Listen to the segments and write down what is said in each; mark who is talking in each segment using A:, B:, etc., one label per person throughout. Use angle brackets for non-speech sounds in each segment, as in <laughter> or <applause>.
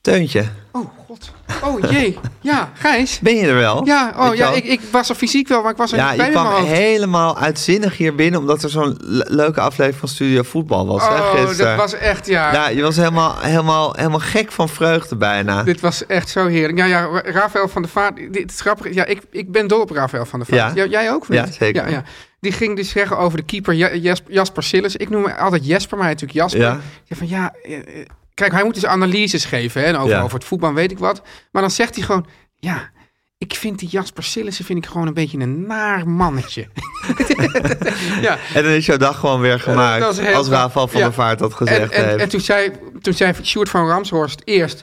A: Teuntje,
B: Oh god. Oh jee. Ja, Gijs.
A: ben je er wel?
B: Ja, oh
A: Weet je
B: ja,
A: wel?
B: ik, ik was er fysiek wel, maar ik was er
A: ja,
B: niet bij
A: je
B: in mijn
A: kwam
B: hoofd.
A: helemaal uitzinnig hier binnen omdat er zo'n le- leuke aflevering van Studio Voetbal was. hè,
B: Oh,
A: gisteren. Nou,
B: dat was echt, ja.
A: Ja, je was helemaal, helemaal, helemaal gek van vreugde bijna.
B: Dit was echt zo heerlijk. Ja, ja, Ra- Rafael van der Vaart. Dit het is grappig. Ja, ik, ik ben dol op Rafael van der Vaart.
A: Ja.
B: Ja, jij ook? of
A: Ja,
B: niet?
A: zeker.
B: Ja, ja. Die ging dus zeggen over de keeper Ja- Jasper, Jasper Sillis. Ik noem hem altijd Jesper, maar hij is natuurlijk Jasper.
A: Ja.
B: Ja, van, ja, eh, eh, kijk, hij moet dus analyses geven hè, en over,
A: Ja.
B: over het voetbal en weet ik wat. Maar dan zegt hij gewoon, ja, ik vind die Jasper Sillissen vind ik gewoon een beetje een naar mannetje. <laughs> ja,
A: En dan is jouw dag gewoon weer
B: dat was
A: gemaakt.
B: heel
A: als
B: grappig.
A: Rafael van
B: Ja.
A: der Vaart dat eh, gezegd
B: en, en,
A: heeft.
B: en toen zei, toen zei Sjoerd van Ramshorst eerst...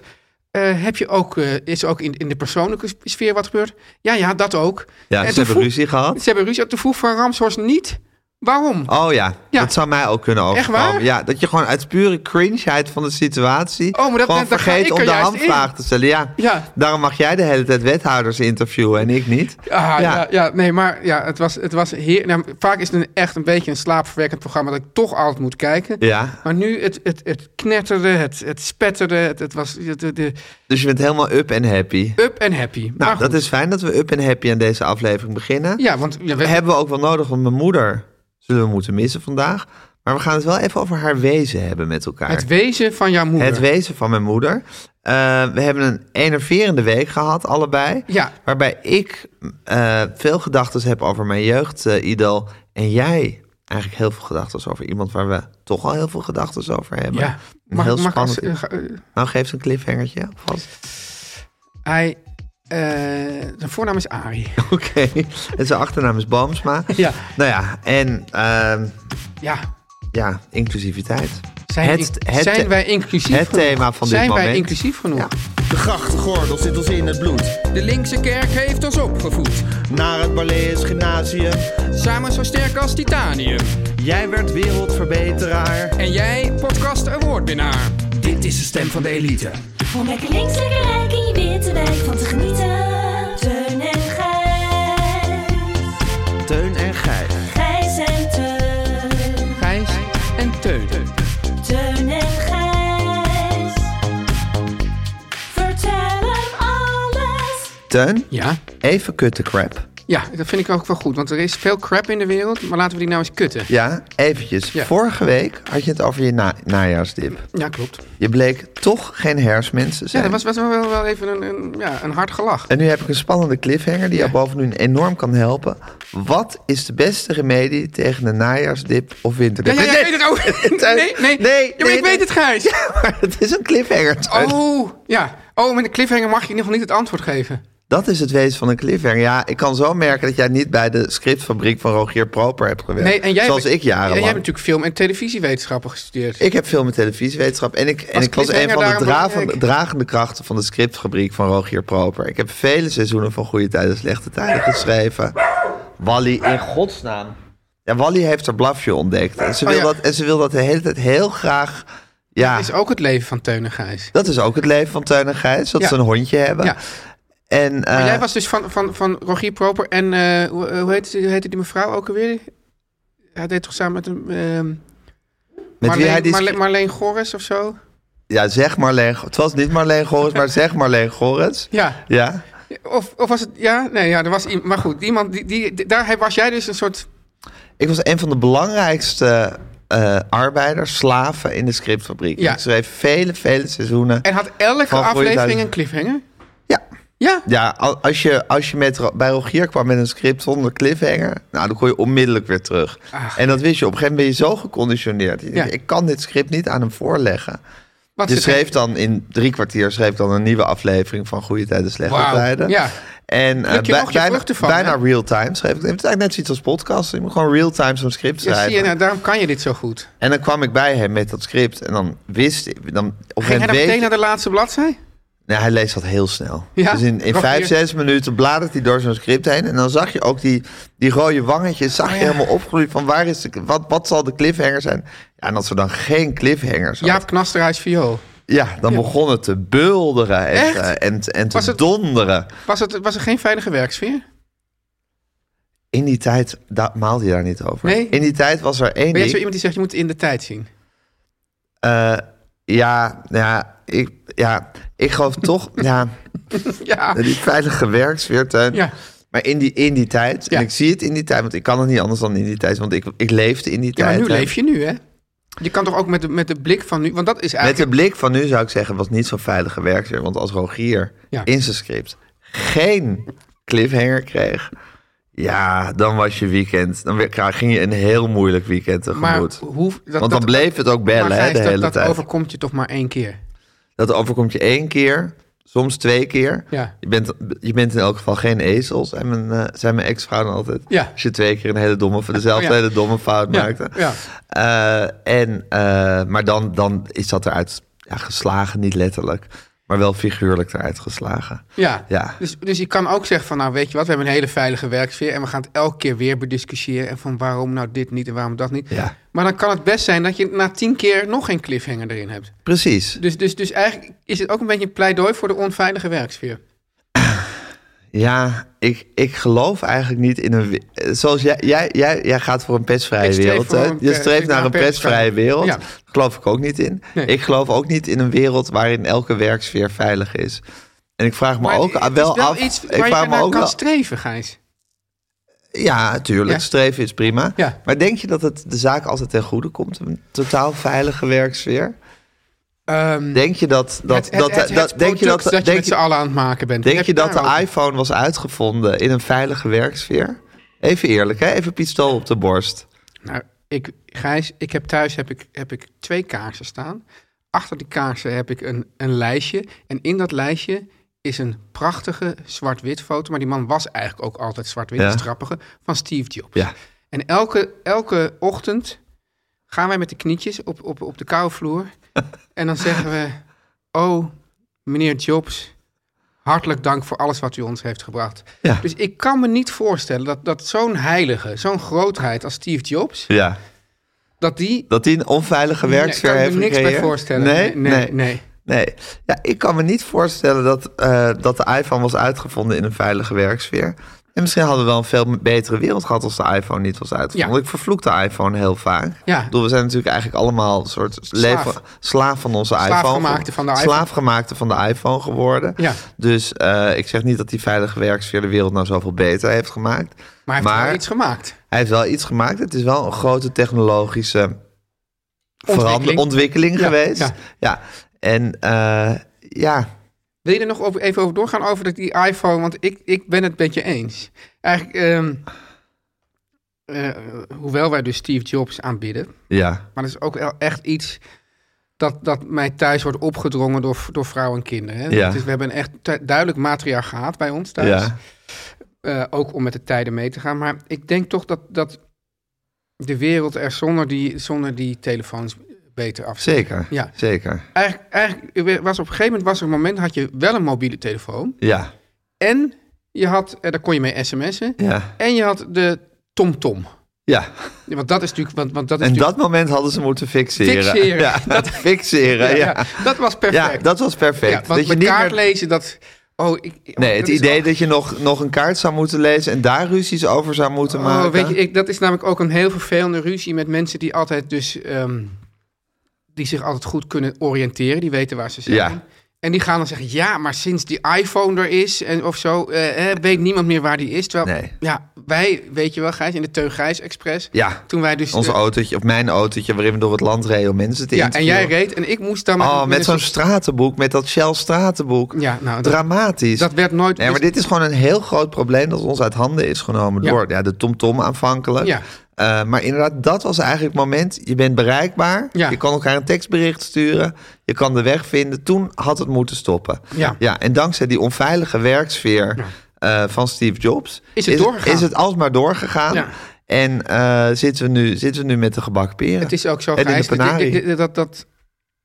B: eh, heb je ook, eh, is er ook in, in de persoonlijke s- sfeer wat gebeurd? Ja, ja, dat ook.
A: ja, ze
B: en toen
A: hebben
B: vroeg-
A: ruzie gehad.
B: Ze hebben ruzie. Toen vroeg Van Ramshorst niet waarom.
A: Oh ja,
B: Ja.
A: dat zou mij ook kunnen overkomen.
B: waar?
A: Ja, dat je gewoon uit pure cringeheid van de situatie...
B: Oh, maar dat-
A: gewoon
B: daar ga
A: vergeet
B: ik
A: om
B: er
A: de
B: juist
A: handvraag
B: in.
A: te stellen. Ja,
B: Ja.
A: daarom mag jij de hele tijd wethouders interviewen en ik niet.
B: Ah, ja. Ja, nee, maar ja, het was, het was heer... nou, vaak is het een, echt een beetje een slaapverwekkend programma... dat ik toch altijd moet kijken.
A: Ja.
B: Maar nu, het, het, het knetterde, het, het spetterde, het, het was de, de- de
A: Dus je bent helemaal up en happy.
B: up en happy.
A: Nou, dat is fijn dat we up en happy aan deze aflevering beginnen.
B: Ja, want ja, we-
A: Hebben we ook wel nodig, want mijn moeder zullen we moeten missen vandaag. Maar we gaan het wel even over haar wezen hebben met elkaar.
B: het wezen van jouw moeder.
A: Het wezen van mijn moeder. Eh, we hebben een enerverende week gehad, allebei.
B: Ja.
A: Waarbij ik eh, veel gedachten heb over mijn jeugd, eh, Idol. En jij eigenlijk heel veel gedachten over iemand waar we toch al heel veel gedachten over hebben.
B: ja.
A: Een
B: Mag-
A: heel
B: mag ik als-
A: spannend.
B: eh, ga- eh,
A: nou, geef ze een cliffhangertje. alvast.
B: Hij, eh zijn voornaam is Arie.
A: <laughs> Oké. En zijn achternaam is Boomsma.
B: <laughs> Ja.
A: Nou ja, en ehm,
B: Ja.
A: ja, inclusiviteit.
B: Zijn,
A: Het-
B: in-
A: het-
B: zijn wij inclusief
A: het
B: genoeg?
A: thema van dit
B: Zijn wij
A: moment.
B: inclusief genoeg?
A: Ja.
C: De grachtgordel zit ons in het bloed.
B: De linkse kerk heeft ons opgevoed.
C: Naar het Barlees Gymnasium.
B: Samen zo sterk als titanium.
C: Jij werd wereldverbeteraar.
B: En jij podcast awardwinnaar.
C: Dit is de stem van de elite.
D: Om lekker links, lekker rijk in je witte wijk van te genieten. Teun en Gijs.
C: Teun en Gijs.
D: Gijs en Teun.
B: Gijs en Teun.
D: Teun en Gijs. Vertel hem alles.
A: Teun,
B: Ja.
A: even kutte crap.
B: Ja, dat vind ik ook wel goed. Want er is veel crap in de wereld. Maar laten we die nou eens kutten.
A: Ja, eventjes.
B: Ja.
A: Vorige week had je het over je na- najaarsdip.
B: Ja, klopt.
A: Je bleek toch geen hersmens te
B: Ja,
A: zijn.
B: dat was, was wel, wel even een, een, ja, een hard gelach.
A: En nu heb ik een spannende cliffhanger die jou bovendien enorm kan helpen. Wat is de beste remedie tegen de najaarsdip of
B: Ja,
A: winterdip?
B: ja, ja, ik
A: Nee,
B: weet het ook.
A: Teun,
B: Nee,
A: <laughs>
B: nee.
A: nee,
B: Ja, maar
A: nee,
B: ik weet
A: nee.
B: het, Gijs.
A: maar het is een cliffhanger. Teun.
B: Oh, ja. Oh, met een cliffhanger mag je in ieder geval niet het antwoord geven.
A: Dat is het wezen van een cliffhanger. Ja, ik kan zo merken dat jij niet bij de scriptfabriek van Rogier Proper hebt gewerkt.
B: Nee, en jij
A: zoals
B: hebt-
A: ik jarenlang.
B: Ja, jij hebt natuurlijk film- en televisiewetenschappen gestudeerd.
A: Ik heb film en televisiewetenschap. En ik, en ik was een
B: cliffhanger
A: van de
B: daarom
A: dra-
B: belangrijk?
A: van- dragende krachten van de scriptfabriek van Rogier Proper. Ik heb vele seizoenen van Goede Tijden, Slechte Tijden geschreven. Wally, in godsnaam. Ja, Wally heeft haar blafje ontdekt. En ze,
B: Oh,
A: wil
B: ja.
A: dat, en ze wil dat de hele tijd heel graag. Ja,
B: Dat is ook het leven van Teun en Gijs.
A: ook het leven van Teun en Gijs. Dat
B: Ja.
A: ze een hondje hebben.
B: Ja.
A: En,
B: Maar
A: eh,
B: jij was dus van, van, van Rogier Proper en eh, hoe, hoe heette, hoe heette die mevrouw ook alweer? Hij deed toch samen met een... ehm,
A: met
B: Marleen,
A: wie hij die...
B: Marleen, Marleen Gorris of zo?
A: Ja, zeg Marleen. Het was niet Marleen Gorens, maar zeg Marleen Gorens.
B: Ja.
A: Ja.
B: Of, of was het... Ja, nee, ja, er was iemand... Maar goed, iemand die, die, daar was jij dus een soort...
A: Ik was een van de belangrijkste eh, arbeiders, slaven in de scriptfabriek.
B: Ja.
A: Ik schreef vele, vele seizoenen.
B: En had elke
A: Van Goeie
B: aflevering
A: Duizend-
B: een cliffhanger?
A: Ja.
B: Ja.
A: Ja, al- als je, als je met, Ro- bij Rogier kwam met een script zonder cliffhanger, nou, dan kon je onmiddellijk weer terug.
B: Ach.
A: En dat wist je. Op een gegeven moment ben je zo geconditioneerd. Je denkt,
B: Ja.
A: Ik kan dit script niet aan hem voorleggen.
B: Wat
A: Je
B: zit er-
A: schreef dan in drie kwartier schreef dan een nieuwe aflevering van Goede Tijden, Slechte
B: Wauw,
A: Tijden.
B: ja.
A: En eh,
B: Pluk je
A: bij-
B: nog je
A: bijna,
B: vruchten van,
A: bijna
B: hè?
A: real-time schreef ik. Het is eigenlijk net zoiets als podcast. Je moet gewoon real-time zo'n script
B: Ja,
A: schrijven.
B: zie je, nou, daarom kan je dit zo goed.
A: En dan kwam ik bij hem met dat script. En dan wist ik... Dan, op een
B: Ging
A: gegeven
B: hij
A: moment
B: dan meteen
A: weet
B: naar de laatste bladzij?
A: Nee, hij leest dat heel snel.
B: Ja?
A: Dus in, in
B: Nog
A: vijf,
B: meer?
A: zes minuten bladert hij door zo'n script heen. En dan zag je ook die, die rode wangetjes.
B: Oh
A: Zag je helemaal opgroeien van waar is de, wat, wat zal de cliffhanger zijn? Ja, en als er dan geen cliffhangers had,
B: Jaap Knasterhuis viool.
A: ja, dan begon het te bulderen en,
B: Echt?
A: eh, en, en te
B: Was het-
A: donderen.
B: Was, het, was er geen veilige werksfeer?
A: In die tijd da, maalde je daar niet over.
B: Nee?
A: In die tijd was er één
B: Ben jij zo
A: ding.
B: iemand die zegt, je moet het in de tijd zien?
A: eh, ja, ja, ik, ja, ik geloof
B: <laughs>
A: toch... ja,
B: Ja.
A: die veilige werksfeer, Teun.
B: Ja.
A: Maar in die, in die tijd,
B: Ja.
A: en ik zie het in die tijd, want ik kan het niet anders dan in die tijd, want ik, ik leefde in die
B: ja,
A: tijd.
B: maar nu
A: hè.
B: leef je nu, hè? Je kan toch ook met de, met de blik van nu... Want dat is
A: Met
B: eigenlijk...
A: de blik van nu zou ik zeggen, was niet zo'n veilige werksfeer. Want als Rogier
B: Ja.
A: in zijn script geen cliffhanger kreeg, ja, dan was je weekend. Dan weer- ging je een heel moeilijk weekend
B: maar
A: tegemoet.
B: hoe... Dat,
A: want dan
B: dat-
A: bleef het ook
B: maar
A: bellen hè,
B: Gijs,
A: de
B: dat,
A: hele
B: dat
A: tijd.
B: overkomt je toch maar één keer.
A: Dat overkomt je één keer, soms twee keer.
B: Ja.
A: Je, bent, je bent in elk geval geen ezel, zijn mijn, eh, zijn mijn ex-vrouw dan altijd.
B: Ja.
A: Als je twee keer een hele domme, dezelfde
B: Oh ja.
A: hele domme fout
B: Ja,
A: maakte.
B: ja.
A: Eh, en, eh, maar dan, dan is dat eruit ja, geslagen, niet letterlijk, maar wel figuurlijk eruit geslagen.
B: Ja.
A: Ja.
B: Dus, dus ik kan ook zeggen van, nou weet je wat, we hebben een hele veilige werksfeer en we gaan het elke keer weer bediscussiëren en van waarom nou dit niet en waarom dat niet.
A: Ja.
B: Maar dan kan het best zijn dat je na tien keer nog geen cliffhanger erin hebt.
A: Precies.
B: Dus, dus, dus eigenlijk is het ook een beetje een pleidooi voor de onveilige werksfeer.
A: Ja, ik, ik geloof eigenlijk niet in een... we- eh, Zoals jij, jij, jij, jij gaat voor een
B: Ik
A: pestvrije
B: streef
A: wereld.
B: voor
A: hè?
B: een
A: Je
B: pers-
A: streeft naar een pestvrije wereld.
B: Ja.
A: Geloof ik ook niet in.
B: Nee.
A: Ik geloof ook niet in een wereld waarin elke werksfeer veilig is. En ik vraag me
B: Maar
A: ook ah,
B: het is
A: wel af...
B: iets
A: ik
B: waar
A: vraag
B: je
A: me
B: naar
A: ook
B: kan
A: wel,
B: streven, Gijs.
A: ja, tuurlijk.
B: Ja.
A: Streven is prima.
B: Ja.
A: Maar denk je dat het de zaak altijd ten goede komt? Een totaal veilige werksfeer?
B: Ehm,
A: Denk je dat... dat,
B: het, het,
A: dat,
B: het- het
A: dat denk je dat,
B: product dat je
A: denk
B: met z'n allen aan het maken bent.
A: Denk
B: Heb
A: je dat
B: daar
A: de
B: ook-
A: iPhone was uitgevonden in een veilige werksfeer? Even eerlijk, hè? Even pistool op de borst.
B: Nou, ik, Gijs, ik heb thuis heb ik, heb ik twee kaarsen staan. Achter die kaarsen heb ik een, een lijstje. En in dat lijstje is een prachtige zwart-wit foto. Maar die man was eigenlijk ook altijd zwart-wit,
A: Ja.
B: dat is het grappige, van Steve Jobs.
A: Ja.
B: En elke, elke ochtend gaan wij met de knietjes op, op, op de koude vloer. en dan zeggen we, oh, meneer Jobs, hartelijk dank voor alles wat u ons heeft gebracht.
A: Ja.
B: Dus ik kan me niet voorstellen dat, dat zo'n heilige, zo'n grootheid als Steve Jobs...
A: Ja.
B: Dat die.
A: Dat die een onveilige
B: Ik
A: werksfeer
B: kan
A: heeft
B: me niks bij
A: gecreëerd?
B: voorstellen.
A: Nee?
B: nee, nee. nee.
A: Nee. Ja, ik kan me niet voorstellen dat, eh, dat de iPhone was uitgevonden in een veilige werksfeer. En misschien hadden we wel een veel betere wereld gehad als de iPhone niet was uitgevonden.
B: Ja.
A: Want Ik vervloek de iPhone heel vaak.
B: Ja.
A: Ik bedoel, we zijn natuurlijk eigenlijk allemaal een soort leven, slaaf van onze iPhone.
B: Slaafgemaakte van de iPhone.
A: Slaafgemaakte van de iPhone geworden.
B: Ja.
A: Dus eh, ik zeg niet dat die veilige werksfeer de wereld nou zoveel beter heeft gemaakt.
B: Maar hij heeft wel iets gemaakt.
A: Hij heeft wel iets gemaakt. Het is wel een grote technologische verander-
B: Ontwikkeling.
A: ontwikkeling
B: Ja,
A: geweest. Ja.
B: ja.
A: En eh, ja,
B: Wil je er nog over, even over doorgaan over dat die iPhone? Want ik, ik ben het met je eens. Eigenlijk, ehm, eh, hoewel wij dus Steve Jobs aanbidden,
A: ja,
B: maar dat is ook wel echt iets dat, dat mij thuis wordt opgedrongen door, door vrouwen en kinderen. Hè?
A: Ja.
B: Dus we hebben een echt tu- duidelijk matriarchaat bij ons thuis.
A: ja.
B: Eh, ook om met de tijden mee te gaan. Maar ik denk toch dat, dat de wereld er zonder die, zonder die telefoons beter af zou.
A: Zeker,
B: Ja.
A: zeker.
B: Eigenlijk, eigenlijk was op een gegeven moment was er een moment had je wel een mobiele telefoon.
A: Ja,
B: En je had, eh, daar kon je mee sms'en.
A: ja,
B: En je had de TomTom.
A: ja.
B: Ja, Want dat is natuurlijk. Want, want dat is
A: En
B: natuurlijk
A: dat moment hadden ze moeten fixeren.
B: Fixeren.
A: <laughs> Ja, dat fixeren, ja.
B: ja, ja, dat was perfect.
A: Ja, dat was perfect.
B: Ja, want
A: dat je
B: met
A: niet
B: kaart
A: meer-
B: lezen, dat. Oh, ik, oh,
A: Nee, het
B: dat is
A: idee
B: ook-
A: dat je nog, nog een kaart zou moeten lezen en daar ruzies over zou moeten
B: Oh,
A: maken.
B: weet je, ik, dat is namelijk ook een heel vervelende ruzie met mensen die altijd dus. ehm, die zich altijd goed kunnen oriënteren, die weten waar ze zijn.
A: Ja.
B: En die gaan dan zeggen, ja, maar sinds die iPhone er is en of zo, eh, eh, weet niemand meer waar die is. Terwijl,
A: Nee.
B: ja, wij, weet je wel, Gijs, in de Teun Gijs Express.
A: Ja.
B: Toen wij dus...
A: Ons
B: eh,
A: autootje, of mijn autootje, waarin we door het land reden om mensen te
B: ja, en
A: interviewen.
B: jij reed en ik moest dan...
A: Oh, met
B: een
A: zo'n
B: soort-
A: stratenboek, met dat Shell stratenboek.
B: Ja, nou, dat-
A: Dramatisch.
B: dat werd nooit-
A: Nee, maar dit is gewoon een heel groot probleem dat ons uit handen is genomen
B: Ja.
A: door ja, de TomTom aanvankelijk.
B: Ja.
A: Eh, maar inderdaad, dat was eigenlijk het moment. Je bent bereikbaar.
B: Ja.
A: Je kan elkaar een tekstbericht sturen. Je kan de weg vinden. Toen had het moeten stoppen.
B: Ja.
A: en dankzij die onveilige werksfeer eh, van Steve Jobs...
B: Is het doorgegaan.
A: Is het alsmaar doorgegaan.
B: Ja.
A: En eh, zitten, we nu, zitten we nu met de gebakken peren.
B: Het is ook zo,
A: En in de
B: Gijs, dat-
A: penarie.
B: dat, dat, dat-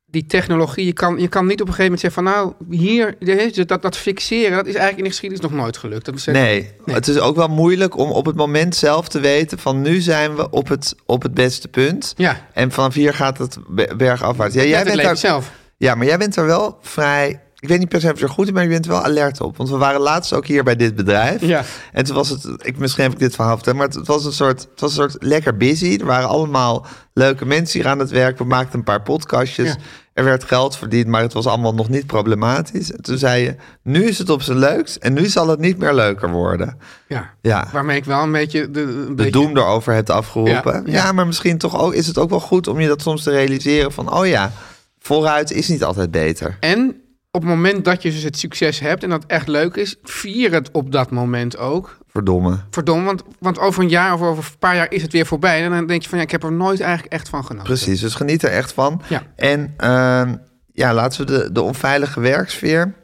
B: die technologie, je kan, je kan niet op een gegeven moment zeggen van nou, hier, dit- dat, dat fixeren, dat is eigenlijk in de geschiedenis nog nooit gelukt. Dat is, eh,
A: Nee, het is ook wel moeilijk om op het moment zelf te weten van nu zijn we op het, op het beste punt.
B: Ja.
A: En vanaf hier gaat het be- bergafwaarts. Ja,
B: Jij
A: jij
B: het
A: bent
B: leven
A: daar,
B: zelf.
A: ja, maar jij bent daar wel vrij. Ik weet niet per se of je er goed in bent, maar je bent er wel alert op. Want we waren laatst ook hier bij dit bedrijf.
B: Ja.
A: En toen was het, ik, misschien heb ik dit verhaal verteld, maar het, het was een soort, het was een soort lekker busy. Er waren allemaal leuke mensen hier aan het werk. We maakten een paar podcastjes.
B: Ja.
A: Er werd geld verdiend, maar het was allemaal nog niet problematisch. En toen zei je, nu is het op zijn leukst en nu zal het niet meer leuker worden.
B: Ja.
A: Ja.
B: Waarmee ik wel een beetje de, een
A: de
B: beetje,
A: doem erover hebt afgeroepen. Ja,
B: Ja, ja.
A: maar misschien toch ook is het ook wel goed om je dat soms te realiseren van oh ja, vooruit is niet altijd beter.
B: En op het moment dat je dus het succes hebt en dat echt leuk is, vier het op dat moment ook.
A: Verdomme.
B: Verdomme, want, want over een jaar of over een paar jaar is het weer voorbij. En dan denk je van ja, ik heb er nooit eigenlijk echt van genoten.
A: Precies, dus geniet er echt van.
B: Ja.
A: En ehm, ja, laten we de, de onveilige werksfeer.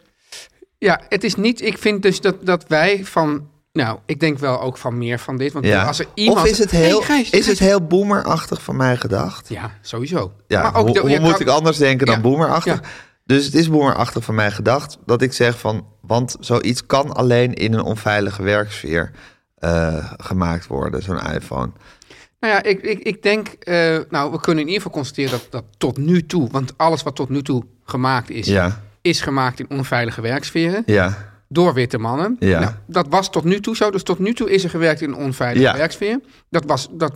B: Ja, het is niet. Ik vind dus dat, dat wij van. Nou, ik denk wel ook van meer van dit. Want
A: Ja.
B: als er iemand.
A: Of is het heel,
B: Hey, Gijs,
A: is het
B: Gijs.
A: heel boomerachtig van mij gedacht?
B: Ja, sowieso.
A: Ja,
B: Maar ook
A: hoe,
B: de-
A: hoe
B: je
A: moet
B: kan-
A: ik anders denken dan
B: Ja,
A: boomerachtig?
B: ja.
A: Dus het is boomerachtig van mij gedacht dat ik zeg van... want zoiets kan alleen in een onveilige werksfeer eh, gemaakt worden, zo'n iPhone.
B: Nou ja, ik, ik, ik denk. eh, nou, we kunnen in ieder geval constateren dat, dat tot nu toe. Want alles wat tot nu toe gemaakt is.
A: Ja,
B: Is gemaakt in onveilige werksferen.
A: ja,
B: Door witte mannen.
A: Ja.
B: Nou, dat was tot nu toe zo. Dus tot nu toe is er gewerkt in een onveilige
A: Ja.
B: werksfeer. Dat was, dat,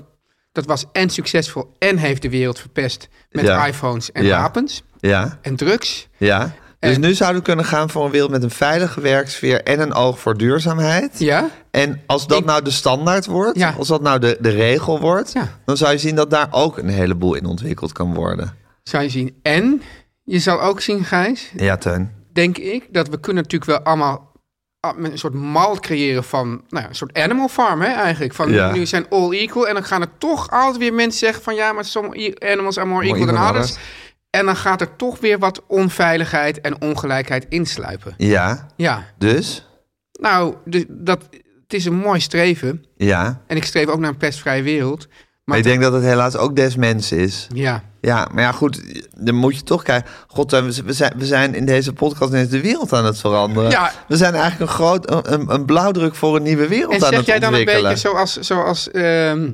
B: dat was en succesvol. En heeft de wereld verpest. Met
A: Ja.
B: iPhones en
A: Ja.
B: wapens.
A: ja,
B: En drugs.
A: ja. Dus
B: En-
A: nu zouden we kunnen gaan voor een wereld met een veilige werksfeer... en een oog voor duurzaamheid.
B: Ja.
A: En als dat
B: Ik-
A: nou de standaard wordt,
B: Ja.
A: als dat nou de, de regel wordt...
B: Ja.
A: dan zou je zien dat daar ook een heleboel in ontwikkeld kan worden.
B: zou je zien. En je zal ook zien, Gijs,
A: Ja, Teun.
B: denk ik, dat we kunnen natuurlijk wel allemaal ah, met een soort mal creëren van, nou ja, een soort animal farm hè, eigenlijk. Van
A: Ja.
B: nu zijn all equal en dan gaan er toch altijd weer mensen zeggen van ja, maar some e- animals are more
A: More
B: equal than
A: equal than
B: others. En dan gaat er toch weer wat onveiligheid en ongelijkheid insluipen.
A: Ja,
B: Ja,
A: dus,
B: nou, dus dat, het is een mooi streven.
A: ja...
B: En ik streef ook naar een pestvrije wereld. Maar
A: Maar ik denk dat het helaas ook des mens is.
B: ja,
A: Ja, maar ja, goed, dan moet je toch kijken. God, eh, we we zijn, we zijn in deze podcast ineens de wereld aan het veranderen.
B: Ja.
A: We zijn eigenlijk een, groot, een- een, een blauwdruk voor een nieuwe wereld
B: en
A: aan
B: zeg
A: het
B: jij dan een
A: ontwikkelen.
B: beetje zoals, zoals ehm,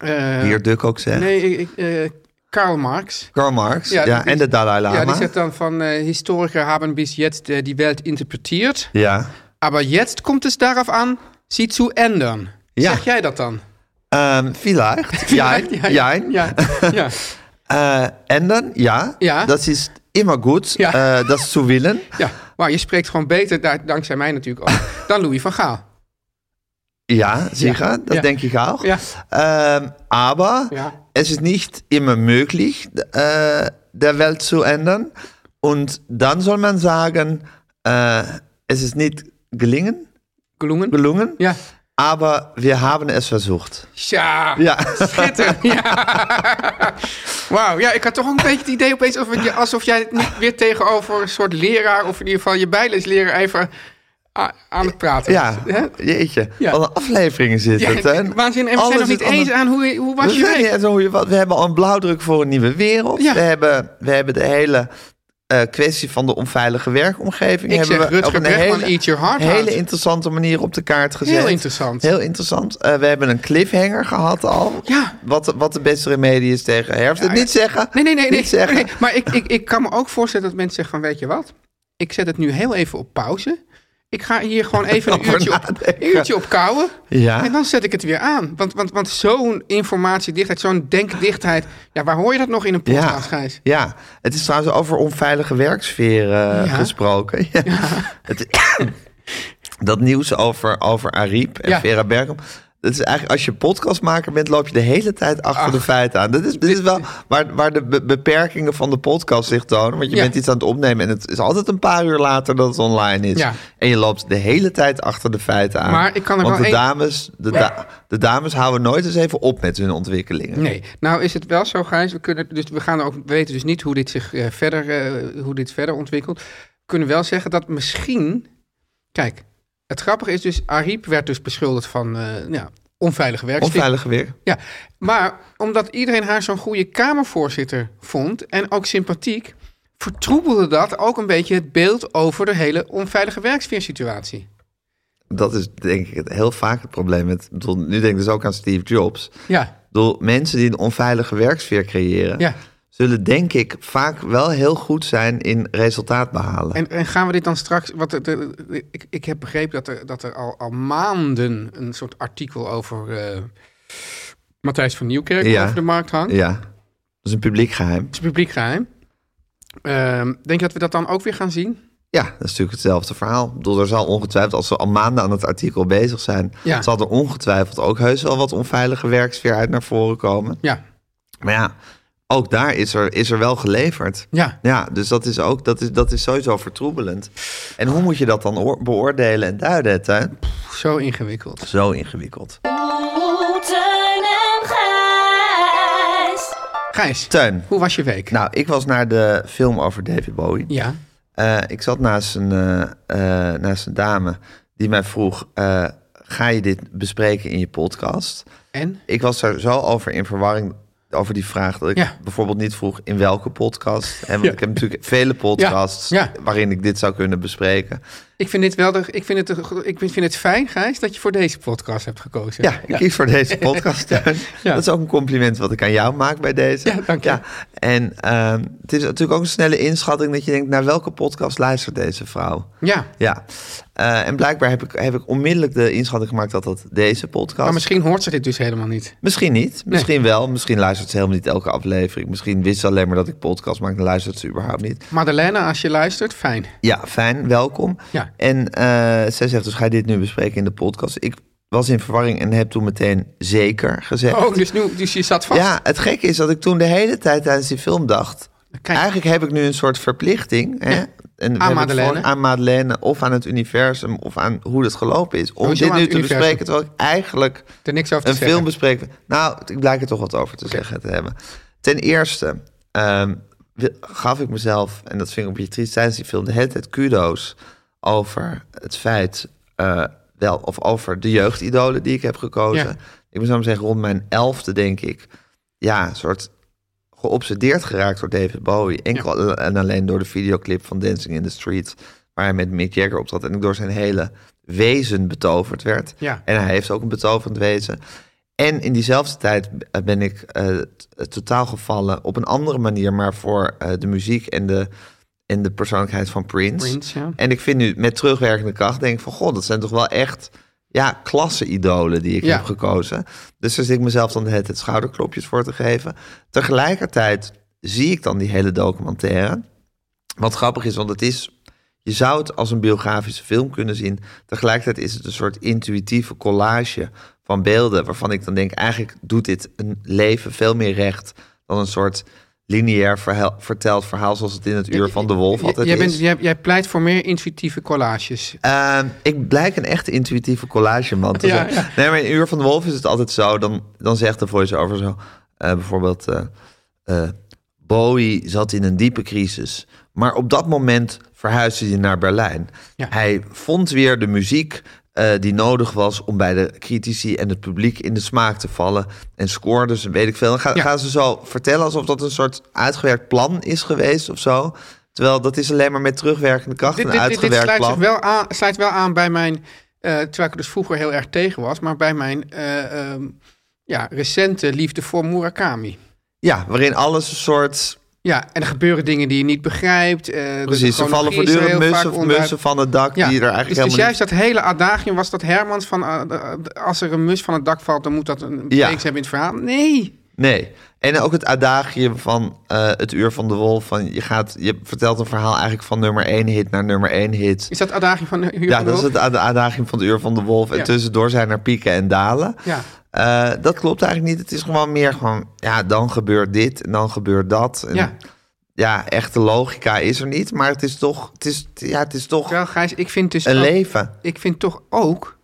B: eh,
A: Hier Duk ook zegt.
B: Nee, ik, ik, eh, Karl Marx.
A: Karl Marx ja,
B: Ja, dat is-
A: en de Dalai Lama.
B: Ja, die zegt dan van eh, historiker hebben bis jetzt eh, die Welt interpretiert.
A: Ja.
B: Aber jetzt kommt es darauf an, sie zu ändern.
A: Ja.
B: Zeg jij dat dan?
A: Ehm,
B: <laughs>
A: vielleicht. Ja, ja,
B: Ja, ja.
A: Eh, en dan, ja,
B: Ja.
A: dat is immer goed.
B: Ja.
A: Eh, dat is zu willen.
B: ja. Maar je spreekt gewoon beter, daar, dankzij mij natuurlijk ook, dan Louis van Gaal.
A: Ja, sicher, das
B: Ja.
A: denke ich auch.
B: Ja.
A: Ähm, aber
B: Ja.
A: es ist nicht immer möglich, äh, der Welt zu ändern. Und dann soll man sagen, äh, es ist nicht gelingen,
B: Gloemen.
A: gelungen,
B: Ja.
A: aber wir haben es versucht.
B: Ja. <laughs>
A: Ja,
B: Schitterend. Ja. <laughs> Wauw, ja, ik had toch ook een beetje het idee opeens of het je- alsof jij het niet weer tegenover een soort leraar, of in ieder geval je bijlesleraar, even a- aan het praten
A: ja.
B: was, hè?
A: jeetje.
B: Ja.
A: Alle afleveringen zitten.
B: Ja, waanzinnig. En we
A: Alles
B: zijn nog niet
A: is anders.
B: eens aan hoe, je- hoe was
A: We,
B: je
A: zijn niet
B: week?
A: eens hoe je wat- we hebben al een blauwdruk voor een nieuwe wereld.
B: Ja.
A: We, hebben, we hebben de hele eh, kwestie van de onveilige werkomgeving.
B: Ik
A: hebben
B: zeg
A: we
B: Rutger
A: op een
B: Bregman,
A: hele,
B: eat your heart out.
A: hele interessante manier op de kaart gezet.
B: Heel interessant.
A: Heel interessant. Eh, we hebben een cliffhanger gehad al.
B: Ja.
A: Wat, de- wat de beste remedie is tegen herfst. Het
B: ja.
A: Niet zeggen.
B: Nee, nee, nee.
A: Niet
B: nee,
A: zeggen.
B: nee. Maar ik, ik, ik kan me ook voorstellen dat mensen zeggen van, weet je wat? Ik zet het nu heel even op pauze. Ik ga hier
A: <laughs>
B: gewoon even een
A: Over
B: uurtje op,
A: nadenken.
B: een uurtje op kouwen.
A: Ja.
B: En dan zet ik het weer aan. Want, want, want zo'n informatiedichtheid, zo'n denkdichtheid. Ja, waar hoor je dat nog in een
A: Ja,
B: podcast, Gijs?
A: ja, het is trouwens over onveilige werksfeer eh, gesproken. Ja. <laughs> Het, dat nieuws over, over Ariep en
B: Ja.
A: Vera Bergkamp. Dat is eigenlijk, als je podcastmaker bent, loop je de hele tijd achter de feiten aan. Dat is, dit is wel waar, waar de be- beperkingen van de podcast zich tonen. Want je
B: Ja.
A: bent iets aan het opnemen en het is altijd een paar uur later dat het online is.
B: Ja.
A: En je loopt de hele tijd achter de feiten aan.
B: Maar ik kan er
A: Want
B: wel
A: de,
B: één-
A: dames, de, da- de dames houden nooit eens even op met hun ontwikkelingen.
B: Nee, nou is het wel zo, Gijs. We, kunnen, dus we, gaan ook, we weten dus niet hoe dit zich eh, verder, eh, hoe dit verder ontwikkelt. We kunnen wel zeggen dat misschien. Kijk, het grappige is dus, Ariep werd dus beschuldigd van eh ja, onveilige werksfeer.
A: Onveilige weer.
B: Ja, maar omdat iedereen haar zo'n goede Kamervoorzitter vond en ook sympathiek, vertroebelde dat ook een beetje het beeld over de hele onveilige werksfeersituatie.
A: dat is denk ik het- heel vaak het probleem. Met, ik bedoel, nu denk ik dus ook aan Steve Jobs.
B: Ja,
A: Ik bedoel, mensen die een onveilige werksfeer creëren,
B: ja.
A: zullen denk ik vaak wel heel goed zijn in resultaat behalen.
B: En, en gaan we dit dan straks. Wat, de, de- de- ik, ik heb begrepen dat er, dat er al, al maanden een soort artikel over eh, Matthijs van Nieuwkerk
A: Ja.
B: over de markt hangt.
A: Ja, dat is een publiek geheim.
B: Het is publiek geheim. Ehm, denk je dat we dat dan ook weer gaan zien?
A: Ja, dat is natuurlijk hetzelfde verhaal. Ik bedoel, er zal ongetwijfeld, als ze al maanden aan het artikel bezig zijn,
B: Ja.
A: zal er ongetwijfeld ook heus wel wat onveilige werksfeer uit naar voren komen.
B: Ja,
A: Maar ja, ook daar is er, is er wel geleverd.
B: ja.
A: Ja, dus dat is ook, dat is, dat is sowieso vertroebelend. En hoe moet je dat dan oor- beoordelen en duiden, hè?
B: zo ingewikkeld.
A: Zo ingewikkeld.
D: Oeh, Oh, Teun en Gijs.
B: Gijs,
A: Teun.
B: hoe was je week?
A: Nou, ik was naar de film over David Bowie.
B: Ja,
A: Eh, ik zat naast een, eh, eh, naast een dame die mij vroeg: eh, ga je dit bespreken in je podcast?
B: en?
A: Ik was er zo over in verwarring over die vraag dat ik
B: Ja.
A: bijvoorbeeld niet vroeg in welke podcast. Hè, want ik heb natuurlijk vele podcasts
B: Ja,
A: waarin ik dit zou kunnen bespreken.
B: Ik vind, dit wel de, ik, vind het, de- ik vind het fijn, Gijs, dat je voor deze podcast hebt gekozen.
A: Ja, ik kies voor deze podcast. Teun.
B: <laughs> Ja.
A: Dat is ook een compliment wat ik aan jou maak bij deze.
B: Ja, dank je.
A: En ehm, het is natuurlijk ook een snelle inschatting dat je denkt... naar welke podcast luistert deze vrouw?
B: ja.
A: Ja, Eh, en blijkbaar heb ik, heb ik onmiddellijk de inschatting gemaakt dat dat deze podcast...
B: maar misschien hoort ze dit dus helemaal niet.
A: Misschien niet, misschien wel. Misschien luistert ze helemaal niet elke aflevering. Misschien wist ze alleen maar dat ik podcast maak en luistert ze überhaupt niet.
B: Madeleine, als je luistert, fijn.
A: Ja, fijn, welkom.
B: Ja.
A: En eh, zij zegt dus, ga je dit nu bespreken in de podcast? Ik was in verwarring en heb toen meteen zeker gezegd...
B: Oh, dus, nu, dus je zat vast.
A: Ja, het gekke is dat ik toen de hele tijd tijdens die film dacht...
B: Kijk.
A: Eigenlijk heb ik nu een soort verplichting hè, en we hebben het
B: Madeleine.
A: gewoon aan Madeleine of aan het universum of aan hoe het gelopen is. Om
B: Hoezo
A: dit
B: aan
A: nu
B: het
A: te
B: universum?
A: bespreken, terwijl ik eigenlijk
B: Er niks over te
A: een
B: zeggen.
A: film bespreek. Nou, ik blijk er toch wat over te zeggen te hebben. Ten eerste ehm, wi- gaf ik mezelf, en dat vind ik een beetje triest tijdens die film, de hele tijd kudo's over het feit, eh, wel, of over de jeugdidolen die ik heb gekozen.
B: Ja.
A: Ik moet zo maar zeggen, rond mijn elfde denk ik, ja, een soort geobsedeerd geraakt door David Bowie. Enkel en alleen door de videoclip van Dancing in the Street. Waar hij met Mick Jagger optrad. En ik door zijn hele wezen betoverd werd.
B: Ja.
A: En hij heeft ook een betoverend wezen. En in diezelfde tijd eh, ben ik eh, t- eh, totaal gevallen op een andere manier. Maar voor eh, de muziek en de, en de persoonlijkheid van Prince.
B: Prince, ja.
A: En ik vind nu met terugwerkende kracht denk ik van... God, dat zijn toch wel echt ja, klasse-idolen die ik
B: Ja.
A: heb gekozen. Dus daar zit ik mezelf dan de hele tijd schouderklopjes voor te geven. Tegelijkertijd zie ik dan die hele documentaire. Wat grappig is, want het is... Je zou het als een biografische film kunnen zien. Tegelijkertijd is het een soort intuïtieve collage van beelden... waarvan ik dan denk, eigenlijk doet dit een leven veel meer recht... dan een soort lineair verhaal, verteld verhaal... zoals het in het Uur van de Wolf
B: J-
A: altijd
B: jij,
A: is.
B: bent, jij, jij pleit voor meer intuïtieve collages.
A: Ehm, ik blijk een echt intuïtieve collageman te
B: Ja,
A: zijn.
B: ja.
A: Nee, maar in Uur van de Wolf is het altijd zo. Dan, dan zegt de voice-over zo... eh, bijvoorbeeld... eh, eh, Bowie zat in een diepe crisis. Maar op dat moment verhuisde hij naar Berlijn.
B: Ja.
A: Hij vond weer de muziek eh, die nodig was... om bij de critici en het publiek in de smaak te vallen. En scoorde ze, weet ik veel. Dan ga-
B: Ja.
A: gaan ze zo vertellen alsof dat een soort uitgewerkt plan is geweest of zo... Terwijl dat is alleen maar met terugwerkende kracht
B: Dit,
A: een
B: dit, dit, dit
A: uitgewerkt
B: sluit,
A: plan.
B: zich wel aan, sluit wel aan bij mijn... eh, terwijl ik er dus vroeger heel erg tegen was... maar bij mijn eh, ehm, ja, recente liefde voor Murakami.
A: Ja, waarin alles een soort
B: Ja, en er gebeuren dingen die je niet begrijpt. eh, de
A: Precies, er vallen
B: chronologie is er
A: voortdurend
B: heel vaak
A: mussen,
B: onderuit.
A: mussen van het dak
B: Ja,
A: die er
B: dus,
A: eigenlijk
B: dus
A: helemaal
B: juist dat hele adagium was dat Hermans van... ah, ah, als er een mus van het dak valt, dan moet dat een betekenis hebben in het verhaal. Nee.
A: Nee. En ook het adagium van eh, het uur van de wolf. Van je, gaat, je vertelt een verhaal eigenlijk van nummer 1 hit naar nummer 1 hit.
B: Is dat adagium van Hugo
A: ja,
B: de
A: dat is
B: Wolf?
A: het ad- adagium van het uur van de wolf. En
B: Ja.
A: tussendoor zijn er pieken en dalen.
B: Ja.
A: Eh, dat klopt eigenlijk niet. Het is gewoon meer gewoon, ja, dan gebeurt dit en dan gebeurt dat. En
B: Ja.
A: ja, echte logica is er niet. Maar het is toch, het is, ja, het is toch
B: Terwijl, Gijs, ik vind dus...
A: een
B: ook-
A: leven.
B: ik vind toch ook...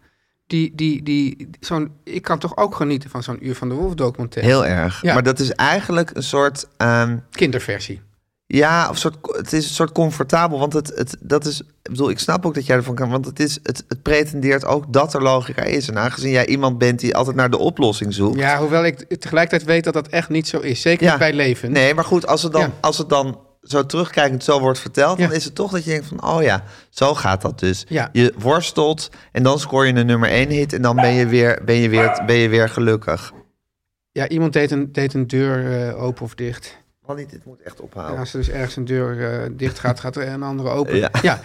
B: Die, die, die, zo'n, ik kan toch ook genieten van zo'n Uur van de Wolf documentaire.
A: Heel erg.
B: Ja.
A: Maar dat is eigenlijk een soort... ehm,
B: Kinderversie.
A: Ja, of soort, het is een soort comfortabel. Want het, het, dat is. Ik bedoel, ik snap ook dat jij ervan kan. Want het, is, het, het pretendeert ook dat er logica is. En aangezien jij iemand bent die altijd naar de oplossing zoekt.
B: Ja, hoewel ik tegelijkertijd weet dat dat echt niet zo is. Zeker
A: Ja.
B: niet bij leven.
A: Nee, maar goed, als het dan,
B: Ja.
A: als het dan zo terugkijkend zo wordt verteld.
B: Ja.
A: dan is het toch dat je denkt van: oh ja, zo gaat dat dus.
B: Ja.
A: Je worstelt en dan scoor je een nummer 1 hit. En dan ben je weer, ben je weer, ben je weer gelukkig.
B: Ja, iemand deed een, deed een deur eh, open of dicht.
A: Manny, dit moet echt
B: En
A: ophouden.
B: als er dus ergens een deur eh, dicht gaat, gaat er een andere open.
A: Oh. Ja.
B: ja.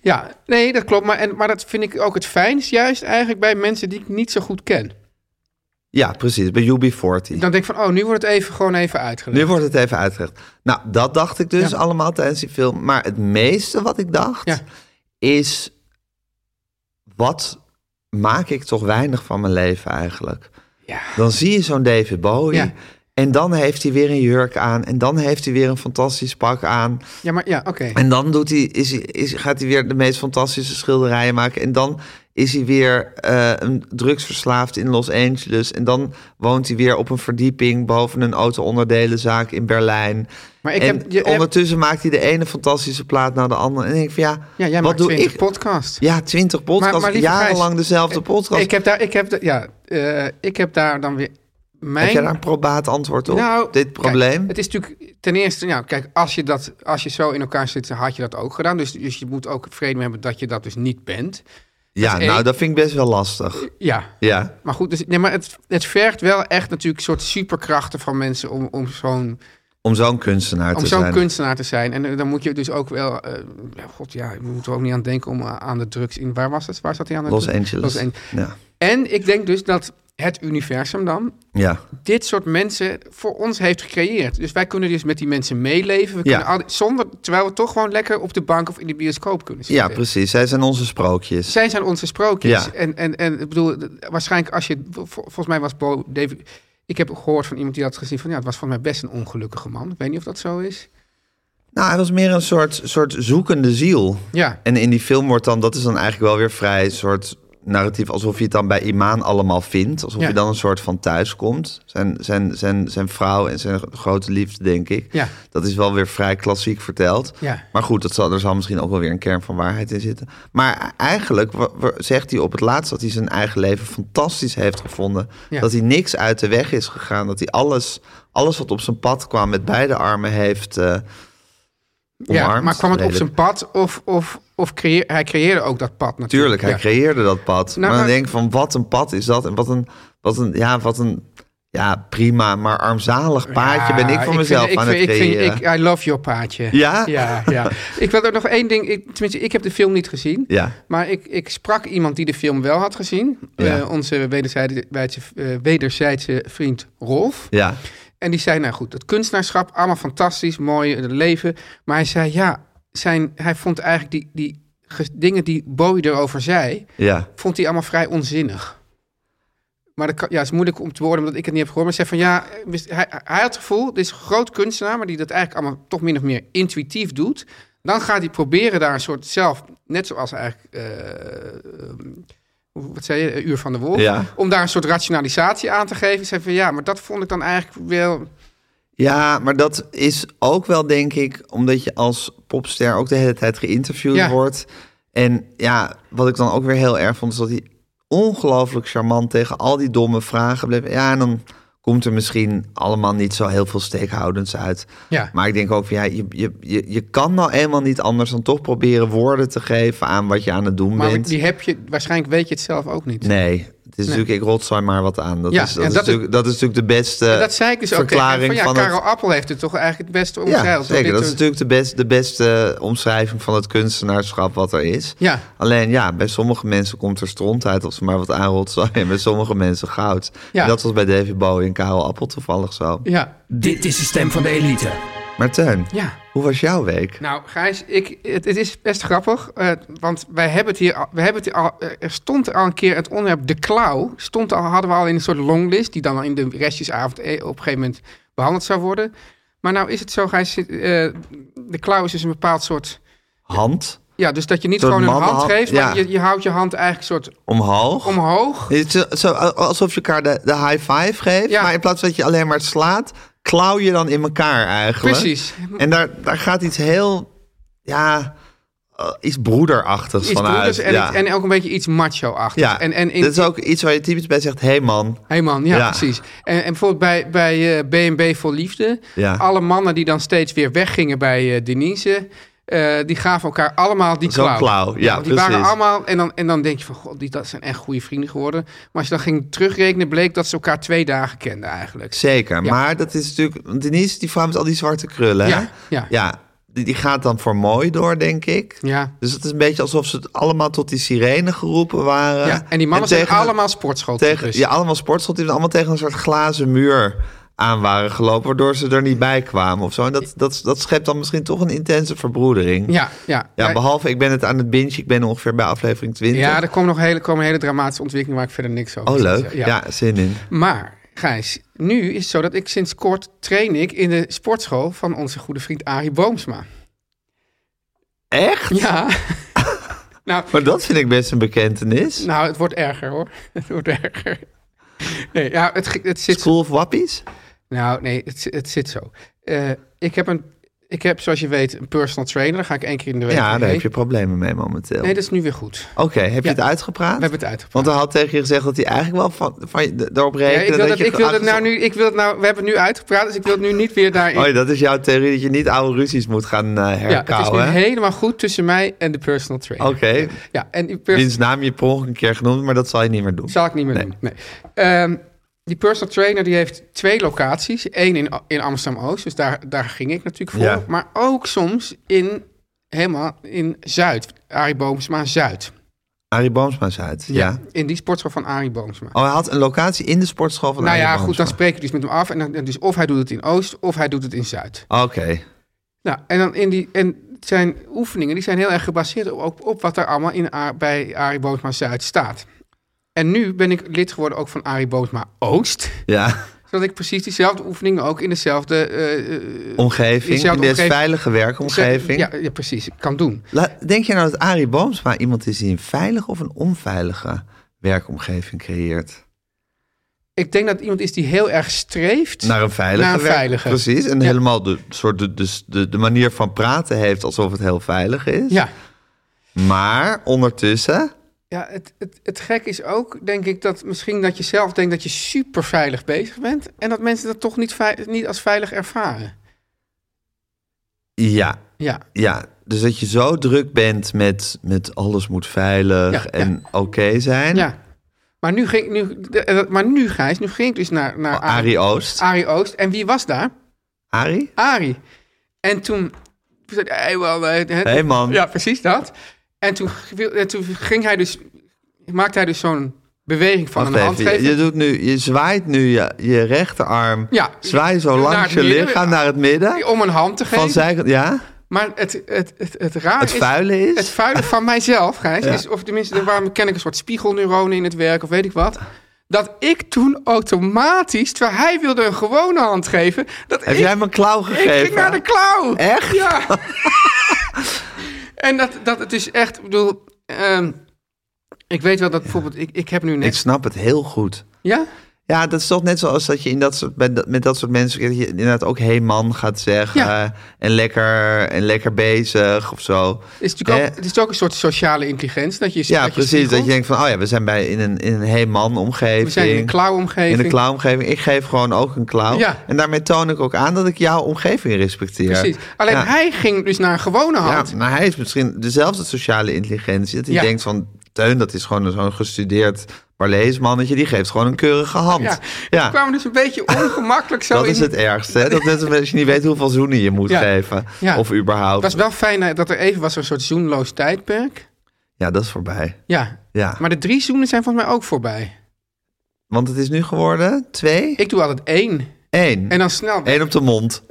B: Ja, nee, dat klopt. Maar, en, maar dat vind ik ook het fijnst juist eigenlijk bij mensen die ik niet zo goed ken.
A: Ja, precies. Bij UB40.
B: Dan denk ik van, oh, nu wordt het even gewoon even uitgelegd.
A: Nu wordt het even uitgelegd. Nou, dat dacht ik dus
B: Ja.
A: allemaal tijdens die film. Maar het meeste wat ik dacht
B: Ja.
A: is... Wat maak ik toch weinig van mijn leven eigenlijk?
B: Ja.
A: Dan zie je zo'n David Bowie...
B: Ja.
A: En dan heeft hij weer een jurk aan. En dan heeft hij weer een fantastisch pak aan.
B: Ja, maar ja, oké.
A: En dan doet hij, is hij, is, gaat hij weer de meest fantastische schilderijen maken. En dan is hij weer eh, een drugsverslaafd in Los Angeles. En dan woont hij weer op een verdieping boven een auto-onderdelenzaak in Berlijn.
B: Maar ik
A: en
B: heb- je-
A: ondertussen maakt hij de ene fantastische plaat na de andere. En ik denk van ja,
B: Ja, jij
A: wat
B: maakt
A: doe
B: 20
A: ik?
B: podcasts.
A: Ja, twintig podcasts,
B: lieve Gijs,
A: jarenlang dezelfde podcast.
B: Ik heb daar, ik heb, da- ja, eh, ik heb daar dan weer mijn...
A: Heb jij daar een probaat antwoord op,
B: Nou,
A: dit probleem?
B: Kijk, het is natuurlijk ten eerste, nou kijk, als je, dat, als je zo in elkaar zit, had je dat ook gedaan. Dus, dus je moet ook vrede mee hebben dat je dat dus niet bent.
A: ja,
B: dat is
A: nou
B: één.
A: dat vind ik best wel lastig.
B: Ja.
A: Ja,
B: Maar goed, dus, nee, maar het, het vergt wel echt natuurlijk soort superkrachten van mensen om, om zo'n
A: om zo'n kunstenaar
B: om
A: te
B: zo'n
A: zijn.
B: kunstenaar te zijn. En eh, dan moet je dus ook wel, eh, ja, god ja, je moet er ook niet aan denken om eh, aan de drugs in, waar was het? Waar zat hij aan de
A: Los
B: drugs?
A: Angeles.
B: Los An-
A: ja.
B: En ik denk dus dat het universum dan
A: ja,
B: dit soort mensen voor ons heeft gecreëerd. Dus wij kunnen dus met die mensen meeleven. We
A: Ja.
B: kunnen al die- zonder, terwijl we toch gewoon lekker op de bank of in de bioscoop kunnen
A: ja,
B: zitten.
A: precies. Zij zijn onze sprookjes.
B: Zij zijn onze sprookjes.
A: Ja.
B: En, en, en ik bedoel, waarschijnlijk als je... vol- Volgens mij was Bo... David, ik heb gehoord van iemand die had gezien van... Ja, het was volgens mij best een ongelukkige man. Ik weet niet of dat zo is.
A: Nou, hij was meer een soort, soort zoekende ziel.
B: Ja.
A: En in die film wordt dan, dat is dan eigenlijk wel weer vrij een soort narratief, alsof je het dan bij Imaan allemaal vindt. Alsof
B: Ja.
A: je dan een soort van thuis komt. Zijn, zijn, zijn, zijn vrouw en zijn grote liefde, denk ik.
B: Ja.
A: Dat is wel weer vrij klassiek verteld.
B: Ja.
A: Maar goed, dat zal, er zal misschien ook wel weer een kern van waarheid in zitten. Maar eigenlijk wa- wa- zegt hij op het laatst dat hij zijn eigen leven fantastisch heeft gevonden.
B: Ja.
A: Dat hij niks uit de weg is gegaan. Dat hij alles, alles wat op zijn pad kwam met beide armen heeft... eh,
B: ja
A: Omarmd,
B: maar kwam het op
A: lelijk.
B: zijn pad of, of, of creëer, hij creëerde ook dat pad
A: Tuurlijk,
B: natuurlijk.
A: hij
B: Ja. Nou,
A: creëerde dat pad. maar dan
B: maar-
A: denk ik van wat een pad is dat en wat een, wat een, ja, wat een ja, prima, maar armzalig paadje ben ik
B: Ja,
A: voor
B: vind-
A: mezelf
B: Ah, ik
A: aan
B: vind-
A: het
B: ik vind-
A: creëren.
B: ik- I love your paadje.
A: Ja?
B: Ja,
A: <laughs>
B: ja. ik wil er nog één ding... Ik, tenminste, ik heb de film niet gezien.
A: ja,
B: Maar ik, ik sprak iemand die de film wel had gezien.
A: Ja.
B: Eh, onze wederzijdse, eh, wederzijdse vriend Rolf.
A: ja,
B: En die zei, nou goed, dat kunstenaarschap, allemaal fantastisch, mooi eh, leven. Maar hij zei, ja, zijn, hij vond eigenlijk die, die ge- dingen die Bowie erover zei...
A: ja.
B: vond hij allemaal vrij onzinnig. Maar dat kan, ja, is moeilijk om te worden, omdat ik het niet heb gehoord. Maar hij zei van, ja, wist- hij, hij had het gevoel, dit is een groot kunstenaar... maar die dat eigenlijk allemaal toch min of meer intuïtief doet. Dan gaat hij proberen daar een soort zelf, net zoals eigenlijk... eh, hoe- wat zei je, eh, Uur van de Wolf...
A: Ja.
B: om daar een soort rationalisatie aan te geven. Ik zei van, ja, maar dat vond ik dan eigenlijk wel...
A: Ja, maar dat is ook wel, denk ik, omdat je als popster ook de hele tijd geïnterviewd
B: Ja.
A: wordt. En ja, wat ik dan ook weer heel erg vond, is dat hij ongelooflijk charmant tegen al die domme vragen bleef. Ja, en dan komt er misschien allemaal niet zo heel veel steekhoudends uit.
B: Ja.
A: Maar ik denk ook, van, ja, je, je, je, je kan nou eenmaal niet anders dan toch proberen woorden te geven aan wat je aan het doen
B: Maar
A: bent.
B: die heb je, waarschijnlijk weet je het zelf ook niet.
A: Nee, Het is natuurlijk, ik rotzooi maar wat aan. Dat,
B: Ja,
A: is, dat,
B: en
A: is
B: dat is-
A: natuurlijk, dat is natuurlijk de beste
B: dat zei ik dus ook tegen hem,
A: verklaring
B: van ja,
A: van het-
B: Karel Appel heeft het toch eigenlijk het beste omschreven.
A: Ja, zeker. Dat is natuurlijk de, best, de beste eh, omschrijving van het kunstenaarschap wat er is.
B: Ja.
A: Alleen ja, bij sommige mensen komt er stront uit of ze maar wat <laughs> aanrotzooien. En bij sommige mensen goud.
B: Ja.
A: En dat was bij David Bowie en Karel Appel toevallig zo.
B: Ja,
C: Dit is de stem van de elite.
A: Maar Teun,
B: ja.
A: hoe was jouw week?
B: Nou, Gijs, ik, het, het is best grappig, eh, want wij hebben het hier, al- wij hebben het hier al, eh, er stond al een keer het onderwerp de klauw, stond al, hadden we al in een soort longlist, die dan in de restjesavond eh, op een gegeven moment behandeld zou worden. Maar nou is het zo, Gijs, eh, de klauw is dus een bepaald soort,
A: Hand
B: ja, dus dat je niet
A: Een soort
B: gewoon een hand
A: mannenhand,
B: geeft, maar
A: ja.
B: je, je houdt je hand eigenlijk een soort
A: omhoog.
B: omhoog.
A: Het is zo, alsof je elkaar de, de high five geeft.
B: Ja.
A: Maar in plaats van dat je alleen maar slaat, klauw je dan in elkaar eigenlijk.
B: Precies.
A: En daar, daar gaat iets heel, ja, eh, iets broederachtigs
B: Iets
A: van uit.
B: broeders en,
A: ja.
B: iets- en ook een beetje iets macho-achtig.
A: Ja,
B: Dus- en, en in,
A: dat is ook iets waar je typisch bij zegt: hé hey man.
B: Hey man, ja,
A: Ja.
B: precies. En, en bijvoorbeeld bij, bij eh BNB voor Liefde.
A: Ja.
B: Alle mannen die dan steeds weer weggingen bij eh Denise. eh, die gaven elkaar allemaal die
A: Zo'n
B: klauw.
A: klauw, ja,
B: die
A: precies.
B: waren allemaal. En dan, en dan denk je van, god, die, dat zijn echt goede vrienden geworden. Maar als je dan ging terugrekenen, bleek dat ze elkaar twee dagen kenden eigenlijk.
A: Zeker.
B: Ja.
A: Maar dat is natuurlijk. want Denise, die vrouw met al die zwarte krullen. hè?
B: Ja, ja.
A: die, die gaat dan voor mooi door, denk ik.
B: Ja.
A: Dus het is een beetje alsof ze het allemaal tot die sirene geroepen waren.
B: ja. En die mannen zijn
A: Eh, tegen-
B: allemaal dus. sportschool.
A: Tegen, ja, allemaal sportschot die er allemaal tegen een soort glazen muur aan waren gelopen, waardoor ze er niet bij kwamen of zo. En dat, dat, dat schept dan misschien toch een intense verbroedering.
B: ja, ja.
A: Ja, behalve ik ben het aan het binge, ik ben ongeveer bij aflevering 20.
B: Ja, er komen nog hele, komen hele dramatische ontwikkelingen waar ik verder niks over
A: Oh,
B: te
A: leuk.
B: zeggen.
A: Ja. zin in.
B: Maar, Gijs, nu is het zo dat ik sinds kort train ik in de sportschool van onze goede vriend Arie Boomsma.
A: Echt?
B: Ja. <laughs> nou,
A: Maar dat vind ik best een bekentenis.
B: nou, het wordt erger hoor. <laughs> Het wordt erger. Nee, ja, het, ge- het zit
A: School of Wappies?
B: Nou, nee, het, zi- het zit zo. Eh, ik, heb een, ik heb, zoals je weet, een personal trainer. Daar ga ik één keer in de week
A: Ja, daar
B: heen.
A: heb je problemen mee momenteel.
B: Nee, dat is nu weer goed.
A: Oké, heb je
B: Ja.
A: het uitgepraat?
B: We hebben het uitgepraat.
A: Want hij had tegen je gezegd dat hij eigenlijk wel van, van je d- erop
B: Ja,
A: rekende.
B: ik wil dat,
A: je
B: ik wil dat
A: aange-
B: nou nu, ik wil het nou, we hebben het nu uitgepraat, dus ik wil het nu niet weer daarin.
A: Oh, ja, dat is jouw theorie, dat je niet oude ruzies moet gaan eh
B: ja, het is nu
A: herkauwen.
B: helemaal goed tussen mij en de personal trainer.
A: Oké,
B: Ja, en die pers-
A: wiens naam je per ongeluk een keer genoemd, maar dat zal je niet meer doen.
B: Zal ik niet meer doen. Nee. Ehm, die personal trainer die heeft twee locaties. Eén in, in Amsterdam-Oost, dus daar, daar ging ik natuurlijk voor.
A: Ja.
B: Maar ook soms in, helemaal in Zuid. Arie Boomsma Zuid.
A: Arie Boomsma is uit, ja.
B: In die sportschool van Arie Boomsma.
A: Oh, hij had een locatie in de sportschool van
B: nou
A: Arie
B: ja,
A: Boomsma.
B: goed, dan spreek je dus met hem af. En dan, dus of hij doet het in Oost, of hij doet het in Zuid.
A: Oké,
B: Nou, en dan in die. En zijn oefeningen die zijn heel erg gebaseerd op, op, op wat er allemaal in, A- bij Arie Boomsma Zuid staat. En nu ben ik lid geworden ook van Arie Boomsma Oost.
A: ja.
B: Zodat ik precies diezelfde oefeningen ook in dezelfde... eh, eh,
A: Omgeving, in
B: Jezelf
A: deze
B: omgeving-
A: veilige werkomgeving.
B: Ja, ja, precies. Kan doen.
A: La- Denk je nou dat Arie Boomsma iemand is die een veilige of een onveilige werkomgeving creëert?
B: Ik denk dat iemand is die heel erg streeft...
A: Naar een veilige.
B: Naar een
A: werk-
B: veilige.
A: Precies. En
B: Ja.
A: helemaal de, soort de, dus de, de manier van praten heeft alsof het heel veilig is.
B: Ja.
A: Maar ondertussen.
B: Ja, het, het, het gek is ook, denk ik, dat misschien dat je zelf denkt dat je super veilig bezig bent. En dat mensen dat toch niet, vei- niet als veilig ervaren.
A: Ja,
B: Ja.
A: ja. Dus dat je zo druk bent met, met alles moet veilig
B: Ja,
A: en oké zijn.
B: ja. Maar nu, ging, nu, eh, maar nu, Gijs, nu ging ik dus naar, naar
A: Oh, Arie Oost.
B: Arie Oost. En wie was daar? Ah.
A: Arie?
B: Arie. En toen... toen zei hij, Hey man, eh,
A: Hé hey man.
B: Ja, precies dat. En toen, wil- en toen ging hij dus, maakte hij dus zo'n beweging van
A: Wacht
B: een
A: even,
B: handgeven.
A: je, je doet nu, je zwaait nu je, je rechterarm.
B: Ja.
A: zwaai zo
B: Naar
A: langs je
B: het midden.
A: lichaam naar het midden.
B: om een hand te
A: Van
B: geven.
A: zij, ja?
B: Maar het, het, het, het raar
A: Het
B: is-
A: vuile is?
B: Het vuile van mijzelf, Gijs. Is, of tenminste, waarom ken ik een soort spiegelneuronen in het werk of weet ik wat. Dat ik toen automatisch, terwijl hij wilde een gewone hand geven. Dat
A: Heb
B: ik,
A: jij hem een klauw gegeven?
B: Ik ging naar de klauw.
A: Echt? <laughs>
B: Ja. en dat, dat het is echt, ik bedoel... ehm, ik weet wel dat bijvoorbeeld, ik, ik heb nu
A: Ik
B: net...
A: snap het heel goed.
B: Ja?
A: Ja, dat is toch net zoals dat je in dat soort, bij dat- met dat soort mensen dat je inderdaad ook hey man gaat zeggen
B: Ja.
A: eh, en, lekker, en lekker bezig of zo.
B: Het is natuurlijk ook,
A: Eh,
B: het is ook een soort sociale intelligentie. Dat je,
A: ja,
B: dat je
A: precies.
B: spiegelt.
A: Dat je denkt van, oh ja, we zijn bij, in, een, in een hey man omgeving.
B: We zijn in een klauwomgeving.
A: In de klauwomgeving. Ik geef gewoon ook een klauw.
B: Ja.
A: En daarmee toon ik ook aan dat ik jouw omgeving respecteer.
B: Precies. Alleen
A: Ja.
B: hij ging dus naar een gewone
A: Ja,
B: hand.
A: maar hij heeft misschien dezelfde sociale intelligentie. Dat hij
B: Ja.
A: denkt van, Teun, dat is gewoon zo'n gestudeerd Barlees mannetje, die geeft gewoon een keurige hand.
B: Ja,
A: Ja,
B: We kwamen dus een
A: <laughs>
B: beetje ongemakkelijk zo
A: dat
B: in.
A: is het ergste. Hè? Dat net als als je niet weet hoeveel zoenen je moet
B: Ja.
A: geven.
B: Ja.
A: Of überhaupt.
B: Het was wel fijn eh, dat er even was een soort zoenloos tijdperk.
A: Ja, dat is voorbij.
B: Ja,
A: Ja.
B: maar de drie zoenen zijn volgens mij ook voorbij.
A: Want het is nu geworden twee,
B: Ik doe altijd één.
A: één.
B: En dan snel. <laughs>
A: Eén op de mond.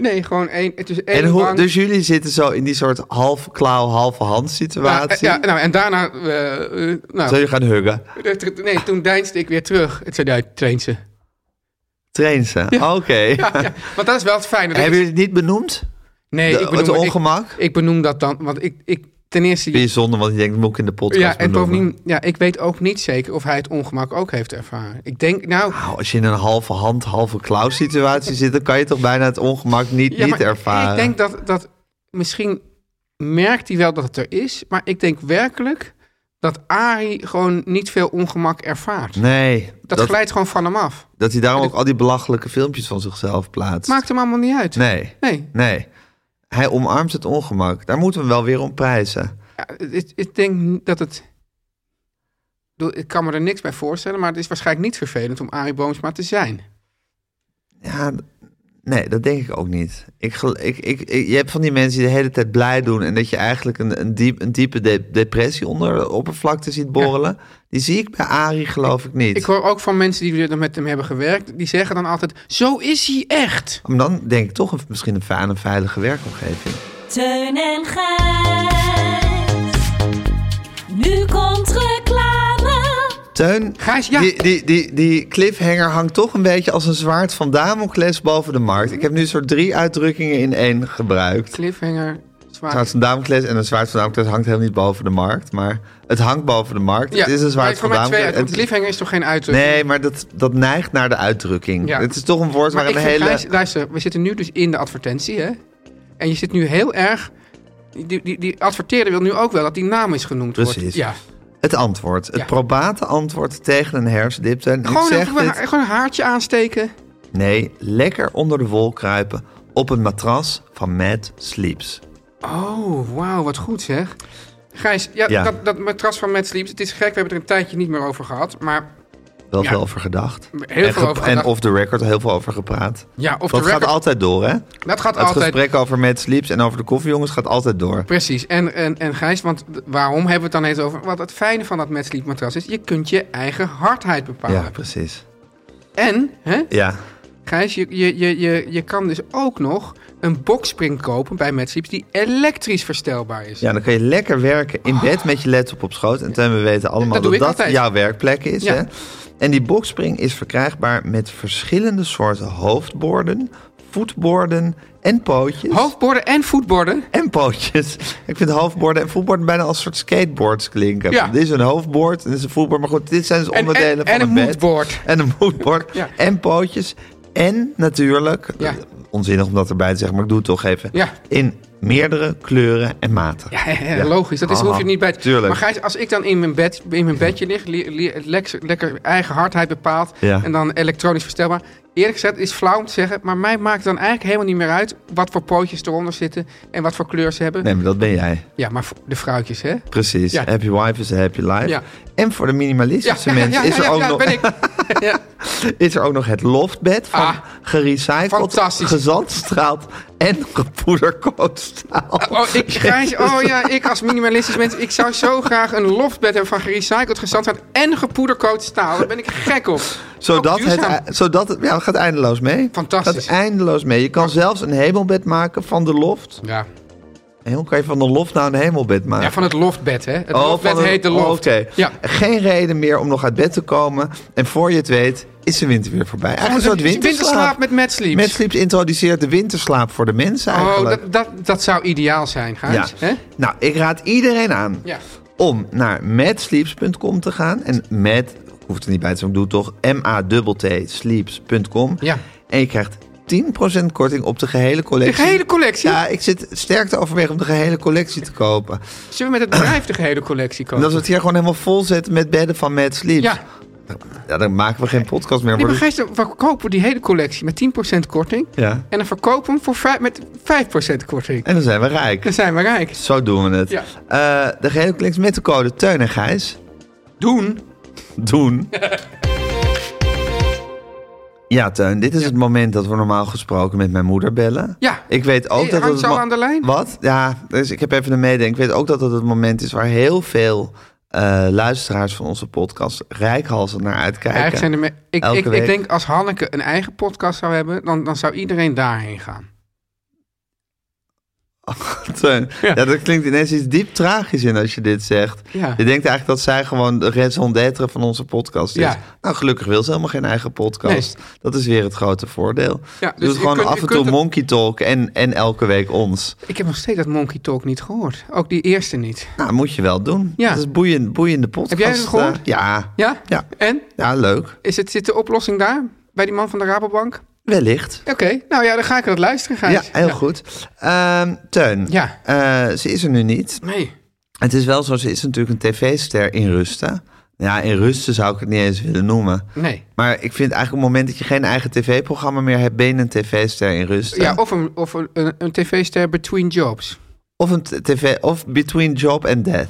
B: Nee, gewoon één. Het is één
A: En hoe,
B: wang.
A: dus jullie zitten zo in die soort half klauw, halve hand
B: Ja, eh,
A: situatie.
B: ja, nou, en daarna... eh, eh,
A: Zou
B: nou,
A: je gaan huggen?
B: nee, toen deinsde ik weer terug. Het zei, ja, traint ze. <laughs>
A: Train ze. Oké.
B: Ja, want dat is wel het fijne. Dat
A: Hebben
B: ik-
A: jullie het niet benoemd?
B: nee,
A: de-
B: ik
A: het
B: benoem,
A: ongemak?
B: Ik, ik benoem dat dan, want ik, ik ten eerste...
A: Vind je zonde, want je denkt, moet ik in de podcast
B: ja, en
A: benoemen?
B: bovendien, ja, ik weet ook niet zeker of hij het ongemak ook heeft ervaren. Ik denk, nou...
A: Nou, als je in een halve hand, halve klauw situatie zit, dan kan je toch bijna het ongemak niet,
B: Ja,
A: niet
B: maar
A: ervaren.
B: Ik denk dat, dat misschien merkt hij wel dat het er is, maar ik denk werkelijk dat Arie gewoon niet veel ongemak ervaart.
A: nee,
B: dat,
A: dat, dat,
B: glijdt gewoon van hem af.
A: hij daarom ook al die belachelijke filmpjes van zichzelf plaatst.
B: Maakt hem allemaal niet uit.
A: Nee,
B: Nee.
A: nee. Hij omarmt het ongemak. Daar moeten we hem wel weer om prijzen.
B: Ja, ik, ik denk dat het... Ik bedoel, Ik kan me er niks bij voorstellen, maar het is waarschijnlijk niet vervelend om Arie Boomsma te zijn.
A: Ja, d- nee, dat denk ik ook niet. Ik, gel- ik, ik, ik- je hebt van die mensen die de hele tijd blij doen... en dat je eigenlijk een, een, diep, een diepe de- depressie onder de oppervlakte ziet borrelen. Die zie ik bij Arie geloof ik niet.
B: Ik hoor ook van mensen die er met hem hebben gewerkt, die zeggen dan altijd: Zo is hij echt.
A: Maar dan denk ik toch een, misschien een fijne, veilige werkomgeving.
D: Teun en Gijs. Nu komt reclame.
A: Teun,
B: Gijs, ja.
A: die, die, die, die cliffhanger hangt toch een beetje als een zwaard van Damocles boven de markt. Ik heb nu soort drie uitdrukkingen in één gebruikt.
B: Cliffhanger, zwaar.
A: Zwaard van Damocles en een zwaard van Damocles hangt helemaal niet boven de markt. Maar het hangt boven de markt. het is een
B: maar
A: zwaard
B: het
A: van
B: komen uit
A: Damocles.
B: twee uit-
A: Het-
B: Cliffhanger is toch geen uitdrukking?
A: Nee, maar dat, dat neigt naar de uitdrukking.
B: Ja.
A: Het is toch een woord
B: maar
A: waar
B: ik
A: een
B: vind,
A: hele...
B: Gijs, luister, we zitten nu dus in de advertentie, hè? En je zit nu heel erg. Die, die, die adverteerder wil nu ook wel dat die naam is genoemd wordt.
A: Precies.
B: Ja.
A: Het antwoord. Het
B: Ja.
A: probate antwoord tegen een hersendip. Teun. Ik
B: Gewoon,
A: zeg
B: even,
A: dit-
B: gewoon een haartje aansteken.
A: Nee, lekker onder de wol kruipen op een matras van Mad Sleeps.
B: Oh, wauw, wat goed zeg. Gijs, ja,
A: Ja.
B: Dat, dat matras van Mad Sleeps, het is gek, we hebben er een tijdje niet meer over gehad. Maar
A: Wel
B: Ja.
A: veel over gedacht.
B: Heel
A: en
B: veel
A: ge-
B: over
A: en
B: gedacht.
A: off the record heel veel over gepraat.
B: ja,
A: dat
B: of de record,
A: gaat altijd door, hè? Het
B: dat gaat altijd.
A: gesprek over Mad Sleeps en over de koffiejongens gaat altijd door.
B: Precies. En, en, en Gijs, want d- waarom hebben we het dan eens over? Wat het fijne van dat matchleep matras is, je kunt je eigen hardheid bepalen.
A: Ja, precies.
B: En, hè,
A: Ja.
B: Gijs, je, je, je, je, je kan dus ook nog een boxspring kopen bij matchleep die elektrisch verstelbaar is.
A: ja, dan kan je lekker werken in bed met je laptop op schoot. En Teun, we weten allemaal
B: Dat
A: dat
B: doe
A: dat,
B: ik altijd.
A: jouw werkplek is,
B: Ja.
A: hè? En die boxspring is verkrijgbaar met verschillende soorten hoofdborden, voetborden en pootjes.
B: Hoofdborden en voetborden.
A: En pootjes. Ik vind hoofdborden en voetborden bijna als soort skateboards klinken.
B: Ja.
A: Dit is een hoofdbord, dit is een voetbord. Maar goed, dit zijn dus
B: En- en-
A: onderdelen van
B: en een
A: bed.
B: moodboard.
A: En een moodboard.
B: Ja.
A: En pootjes. En natuurlijk,
B: Ja.
A: eh, onzinnig om dat erbij te zeggen, maar ik doe het toch even.
B: Ja.
A: In meerdere kleuren en maten.
B: Ja, <laughs> logisch. Dat is,
A: Ah,
B: hoef je er niet bij te...
A: Tuurlijk.
B: Maar Gijs, als ik dan in mijn, bed, in mijn bedje lig, li- li- lekker, lekker eigen hardheid bepaald
A: Ja.
B: en dan elektronisch verstelbaar. Eerlijk gezegd is flauw om te zeggen, maar mij maakt dan eigenlijk helemaal niet meer uit wat voor pootjes eronder zitten en wat voor kleur ze hebben.
A: Nee, maar dat ben jij.
B: Ja, maar voor de vrouwtjes, hè?
A: Precies.
B: Ja.
A: Happy wife is a happy life.
B: Ja.
A: En voor de minimalistische
B: ja,
A: mensen is, er ook
B: ja,
A: nog,
B: ben ik. ja.
A: <laughs> is er ook nog het loftbed van
B: Ah,
A: gerecycled,
B: fantastisch.
A: gezandstraald en gepoederkootstaal.
B: Oh, ik, Gijs, oh ja, ik als minimalistisch mens, ik zou zo graag een loftbed hebben van gerecycled gezandhout en gepoedercoat staal. Daar ben ik gek op.
A: Zodat
B: Ook duurzaam.
A: het, zodat het, ja, het gaat eindeloos mee.
B: Fantastisch.
A: Het gaat eindeloos mee. Je kan zelfs een hemelbed maken van de loft.
B: Ja.
A: En hoe kan je van de loft nou een hemelbed maken?
B: ja, van het loftbed, hè? Het
A: Oh,
B: loftbed
A: van een-
B: heet de
A: oh,
B: loft.
A: Oké.
B: Ja.
A: Geen reden meer om nog uit bed te komen. En voor je het weet is de winter weer voorbij. Eigenlijk een soort winterslaap.
B: winterslaap met Mad Sleeps.
A: Mad Sleeps introduceert de winterslaap voor de mensen
B: Oh,
A: eigenlijk.
B: dat, dat, dat zou ideaal zijn,
A: ja.
B: Gijs. Hè?
A: Nou, ik raad iedereen aan
B: Ja.
A: om naar madsleeps.com te gaan. En mad, hoeft er niet bij te zijn, ik doe het toch, m-a-t-t sleeps.com.
B: Ja.
A: En je krijgt 10% korting op de gehele collectie.
B: De gehele collectie? Oh.
A: Ja, ik zit sterk te overwegen om de gehele collectie te kopen.
B: Zullen we met het bedrijf de gehele collectie
A: En
B: kopen?
A: dat we het hier gewoon helemaal vol zetten met bedden van Mad Sleeps.
B: Ja.
A: Ja, dan maken we geen podcast meer.
B: Nee,
A: worden.
B: maar Gijs, dan verkopen we die hele collectie met 10% korting.
A: Ja.
B: En dan verkopen we hem voor vijf- met 5% korting.
A: En dan zijn we rijk.
B: Dan zijn we rijk.
A: Zo doen we het.
B: Ja.
A: Eh, de gehele klinkt met de code Teun en Gijs.
B: Doen. <laughs>
A: Doen. ja, Teun, dit is het moment dat we normaal gesproken met mijn moeder bellen.
B: Ja.
A: Ik weet ook
B: Eh,
A: dat
B: hangt
A: het
B: ze al
A: mo-
B: aan de lijn?
A: Wat? Ja, dus ik heb even een meedenken. Ik weet ook dat het het moment is waar heel veel eh, luisteraars van onze podcast reikhalsend naar uitkijken.
B: Eigenlijk zijn er me- ik,
A: Elke
B: ik, ik
A: week.
B: denk als Hanneke een eigen podcast zou hebben, dan, dan zou iedereen daarheen gaan.
A: Teun, eh, ja. dat klinkt ineens iets diep tragisch in als je dit zegt.
B: Ja.
A: Je denkt eigenlijk dat zij gewoon de raison d'être van onze podcast is.
B: Ja.
A: Nou, gelukkig wil ze helemaal geen eigen podcast. Dat is weer het grote voordeel.
B: Ja,
A: Ze
B: dus
A: doet
B: je
A: gewoon
B: kunt-
A: af
B: je
A: en toe
B: kunt het-
A: monkey talk en, en elke week ons.
B: Ik heb nog steeds dat Monkey Talk niet gehoord. Ook die eerste niet.
A: Nou, moet je wel doen.
B: Ja.
A: Dat is boeiend, boeiende podcast.
B: Heb jij het gehoord?
A: eh, ja.
B: Ja?
A: Ja.
B: En?
A: Ja, leuk.
B: Is het, zit de oplossing daar? Bij die man van de Rabobank?
A: Wellicht.
B: Oké, nou ja, dan ga ik dat luisteren,
A: Ja,
B: Gijs.
A: heel goed. Ehm, Teun,
B: Ja.
A: eh, ze is er nu niet.
B: Nee.
A: Het is wel zo, ze is natuurlijk een tv-ster in rusten. Ja, in rusten zou ik het niet eens willen noemen.
B: Nee.
A: Maar ik vind eigenlijk op het moment dat je geen eigen tv-programma meer hebt, ben je een tv-ster in rust.
B: Ja, oh. of een, of een, een, een tv-ster between jobs.
A: Of een t- tv, of between job and death.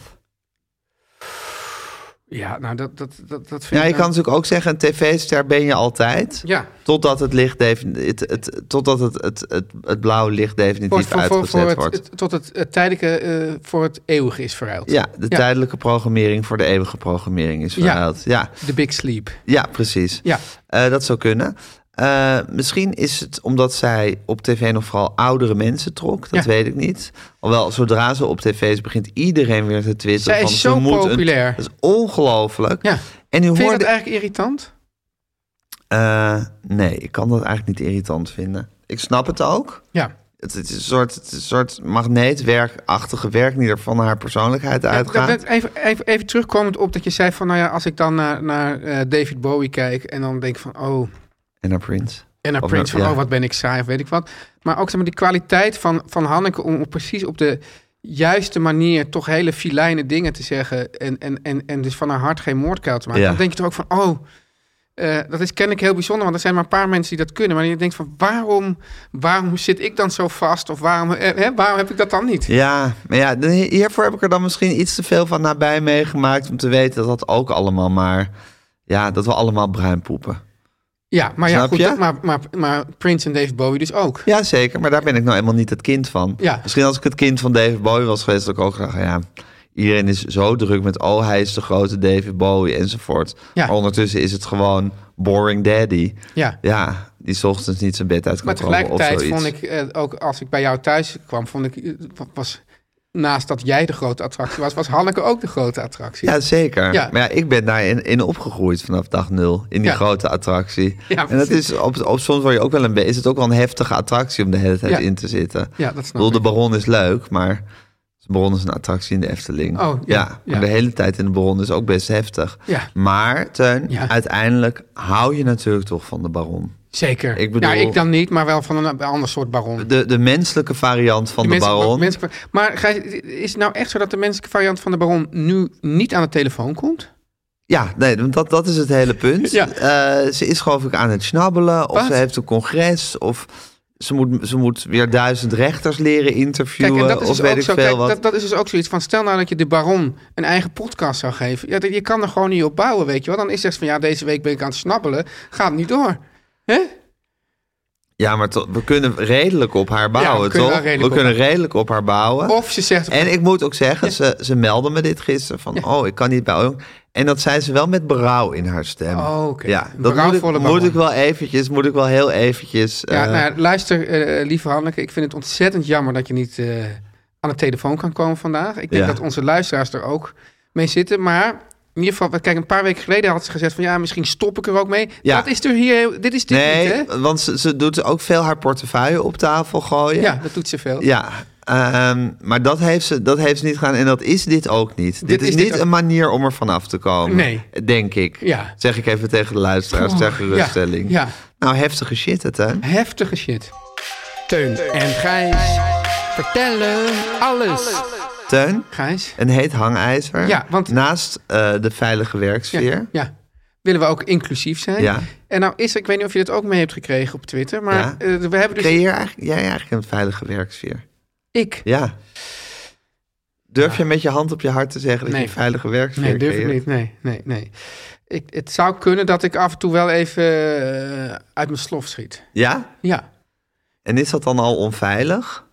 B: Ja, nou dat, dat, dat, dat vind
A: Ja,
B: ik...
A: je kan
B: nou-
A: natuurlijk ook zeggen, een tv-ster ben je altijd.
B: Ja,
A: Totdat het licht defini- het, het, totdat het, het, het, het blauwe licht
B: voor,
A: definitief
B: voor, voor,
A: uitgezet
B: voor het,
A: wordt.
B: het- tot het, eh, tijdelijke eh, voor het eeuwige is verruild.
A: ja, de tijdelijke programmering voor de eeuwige programmering is
B: Ja.
A: verhaald. Ja, ja,
B: The Big Sleep.
A: precies.
B: Ja.
A: Eh, dat zou kunnen. Eh, misschien is het omdat zij op tv nog vooral oudere mensen trok. Dat
B: Ja.
A: weet ik niet. Alhoewel, zodra ze op tv is, begint iedereen weer te twitteren.
B: Zij is
A: van,
B: zo
A: ze moet een-
B: populair.
A: dat is ongelooflijk.
B: Ja.
A: En u
B: Vind je dat
A: hoorde...
B: eigenlijk irritant?
A: Eh, nee, ik kan dat eigenlijk niet irritant vinden. Ik snap het ook.
B: Ja.
A: Het, het is een soort, het is een soort magneetwerkachtige werk die er van haar persoonlijkheid
B: Ja,
A: uitgaat.
B: dat- dat- even, even, even terugkomend op dat je zei van, nou ja, als ik dan naar, naar eh, David Bowie kijk en dan denk van, oh,
A: En haar prins.
B: en naar
A: Of
B: Prince, van,
A: ja.
B: oh, wat ben ik saai of weet ik wat. Maar ook zeg maar, die kwaliteit van, van Hanneke om op precies op de juiste manier toch hele filijne dingen te zeggen en, en, en, en dus van haar hart geen moordkuil te maken.
A: Ja.
B: Dan denk je toch ook van, oh, eh, dat is kennelijk heel bijzonder, want er zijn maar een paar mensen die dat kunnen. Maar je denkt van, waarom, waarom zit ik dan zo vast of waarom, eh, hè, waarom heb ik dat dan niet?
A: Ja, maar ja, dan- hiervoor heb ik er dan misschien iets te veel van nabij meegemaakt... om te weten dat dat ook allemaal maar... Ja, dat we allemaal bruin poepen.
B: Ja, maar, ja,
A: Snap
B: goed,
A: je?
B: dat- maar, maar, maar Prince en David Bowie dus ook.
A: Ja, zeker. Maar daar ben ik nou helemaal niet het kind van.
B: Ja.
A: Misschien als ik het kind van David Bowie was geweest, dat ik ook dacht, ja, iedereen is zo druk met, oh, hij is de grote David Bowie enzovoort.
B: Ja.
A: Maar ondertussen is het gewoon boring daddy.
B: Ja.
A: Ja, die 's ochtends niet zijn bed uit kan
B: Maar
A: komen
B: tegelijkertijd
A: of zoiets.
B: vond ik, eh, ook als ik bij jou thuis kwam, vond ik, eh, wa- was naast dat jij de grote attractie was, was Hanneke ook de grote attractie.
A: Ja, zeker.
B: Ja.
A: Maar ja, ik ben daarin in opgegroeid vanaf dag nul. In die
B: Ja.
A: grote attractie.
B: Ja,
A: en dat
B: precies.
A: is op, op soms word je ook wel een beetje. Is het ook wel een heftige attractie om de hele tijd
B: Ja.
A: in te zitten?
B: Ja, dat snap
A: Ik bedoel,
B: ik.
A: de Baron is leuk, maar de Baron is een attractie in de Efteling.
B: Oh, ja,
A: maar
B: ja.
A: de hele tijd in de Baron is ook best heftig.
B: Ja.
A: Maar, Teun,
B: Ja.
A: uiteindelijk hou je natuurlijk toch van de Baron.
B: Zeker.
A: Ik bedoel-
B: nou, ik dan niet, maar wel van een, een ander soort baron.
A: De, de menselijke variant van
B: Die
A: de,
B: menselijke-
A: Baron.
B: menselijke- maar Gijs, is het nou echt zo dat de menselijke variant van de baron nu niet aan de telefoon komt?
A: Ja, nee, want dat, dat is het hele punt.
B: <laughs> Ja.
A: Eh, ze is geloof ik aan het snabbelen. Of
B: Wat?
A: ze heeft een congres. Of ze moet, ze moet weer duizend rechters leren interviewen. of
B: dus
A: weet
B: ook
A: ik
B: zo,
A: veel
B: kijk,
A: wat.
B: dat, dat is dus ook zoiets van, stel nou dat je de baron een eigen podcast zou geven. Ja, dat- je kan er gewoon niet op bouwen, weet je wel. Dan is het van, ja, deze week ben ik aan het snabbelen. Gaat niet door. Hè?
A: Ja, maar to- we kunnen redelijk op haar bouwen,
B: kunnen wel
A: toch?
B: redelijk
A: we
B: op
A: kunnen redelijk op haar bouwen.
B: Of ze zegt...
A: En ik moet ook zeggen, ze, ze meldde me dit gisteren. Van, oh, ik kan niet bij Oom. En dat zei ze wel met berouw in haar stem.
B: Oh, oké.
A: Ja,
B: Een
A: dat moet ik,
B: berouwvolle
A: moet
B: baron.
A: ik wel eventjes, moet ik wel heel eventjes...
B: Ja,
A: eh,
B: nou ja, luister, eh, lieve Hanneke, ik vind het ontzettend jammer dat je niet eh, aan de telefoon kan komen vandaag. Ik denk
A: Ja.
B: dat onze luisteraars er ook mee zitten, maar in ieder geval, kijk, een paar weken geleden had ze gezegd van ja, misschien stop ik er ook mee.
A: Ja.
B: Dat is er hier, dit is dit niet, hè?
A: nee, want ze, ze doet ook veel haar portefeuille op tafel gooien.
B: Ja, dat doet ze veel.
A: Ja, ehm, maar dat heeft, ze, dat heeft ze niet gedaan en dat is dit ook niet. Dit, is,
B: is dit
A: niet
B: ook-
A: een manier om er vanaf te komen.
B: Nee.
A: Denk ik.
B: Ja.
A: Zeg ik even tegen de luisteraars
B: Oh,
A: ter geruststelling.
B: ja, ja.
A: Nou, heftige shit het, hè?
B: Heftige shit. Teun en Gijs vertellen alles.
A: Teun,
B: Gijs?
A: een heet hangijzer.
B: Ja, want-
A: Naast eh, de veilige werksfeer.
B: Ja. willen we ook inclusief zijn.
A: Ja.
B: En nou is er, ik weet niet of je dat ook mee hebt gekregen op Twitter, maar
A: Ja.
B: eh, we hebben dus...
A: Creëer eigenlijk, jij eigenlijk een veilige werksfeer.
B: Ik.
A: Ja. Durf je met je hand op je hart te zeggen dat
B: Nee.
A: je een veilige werksfeer
B: Nee, durf ik
A: creëert?
B: niet. Nee, nee, nee. Ik, het zou kunnen dat ik af en toe wel even eh, uit mijn slof schiet.
A: Ja?
B: Ja.
A: En is dat dan al onveilig?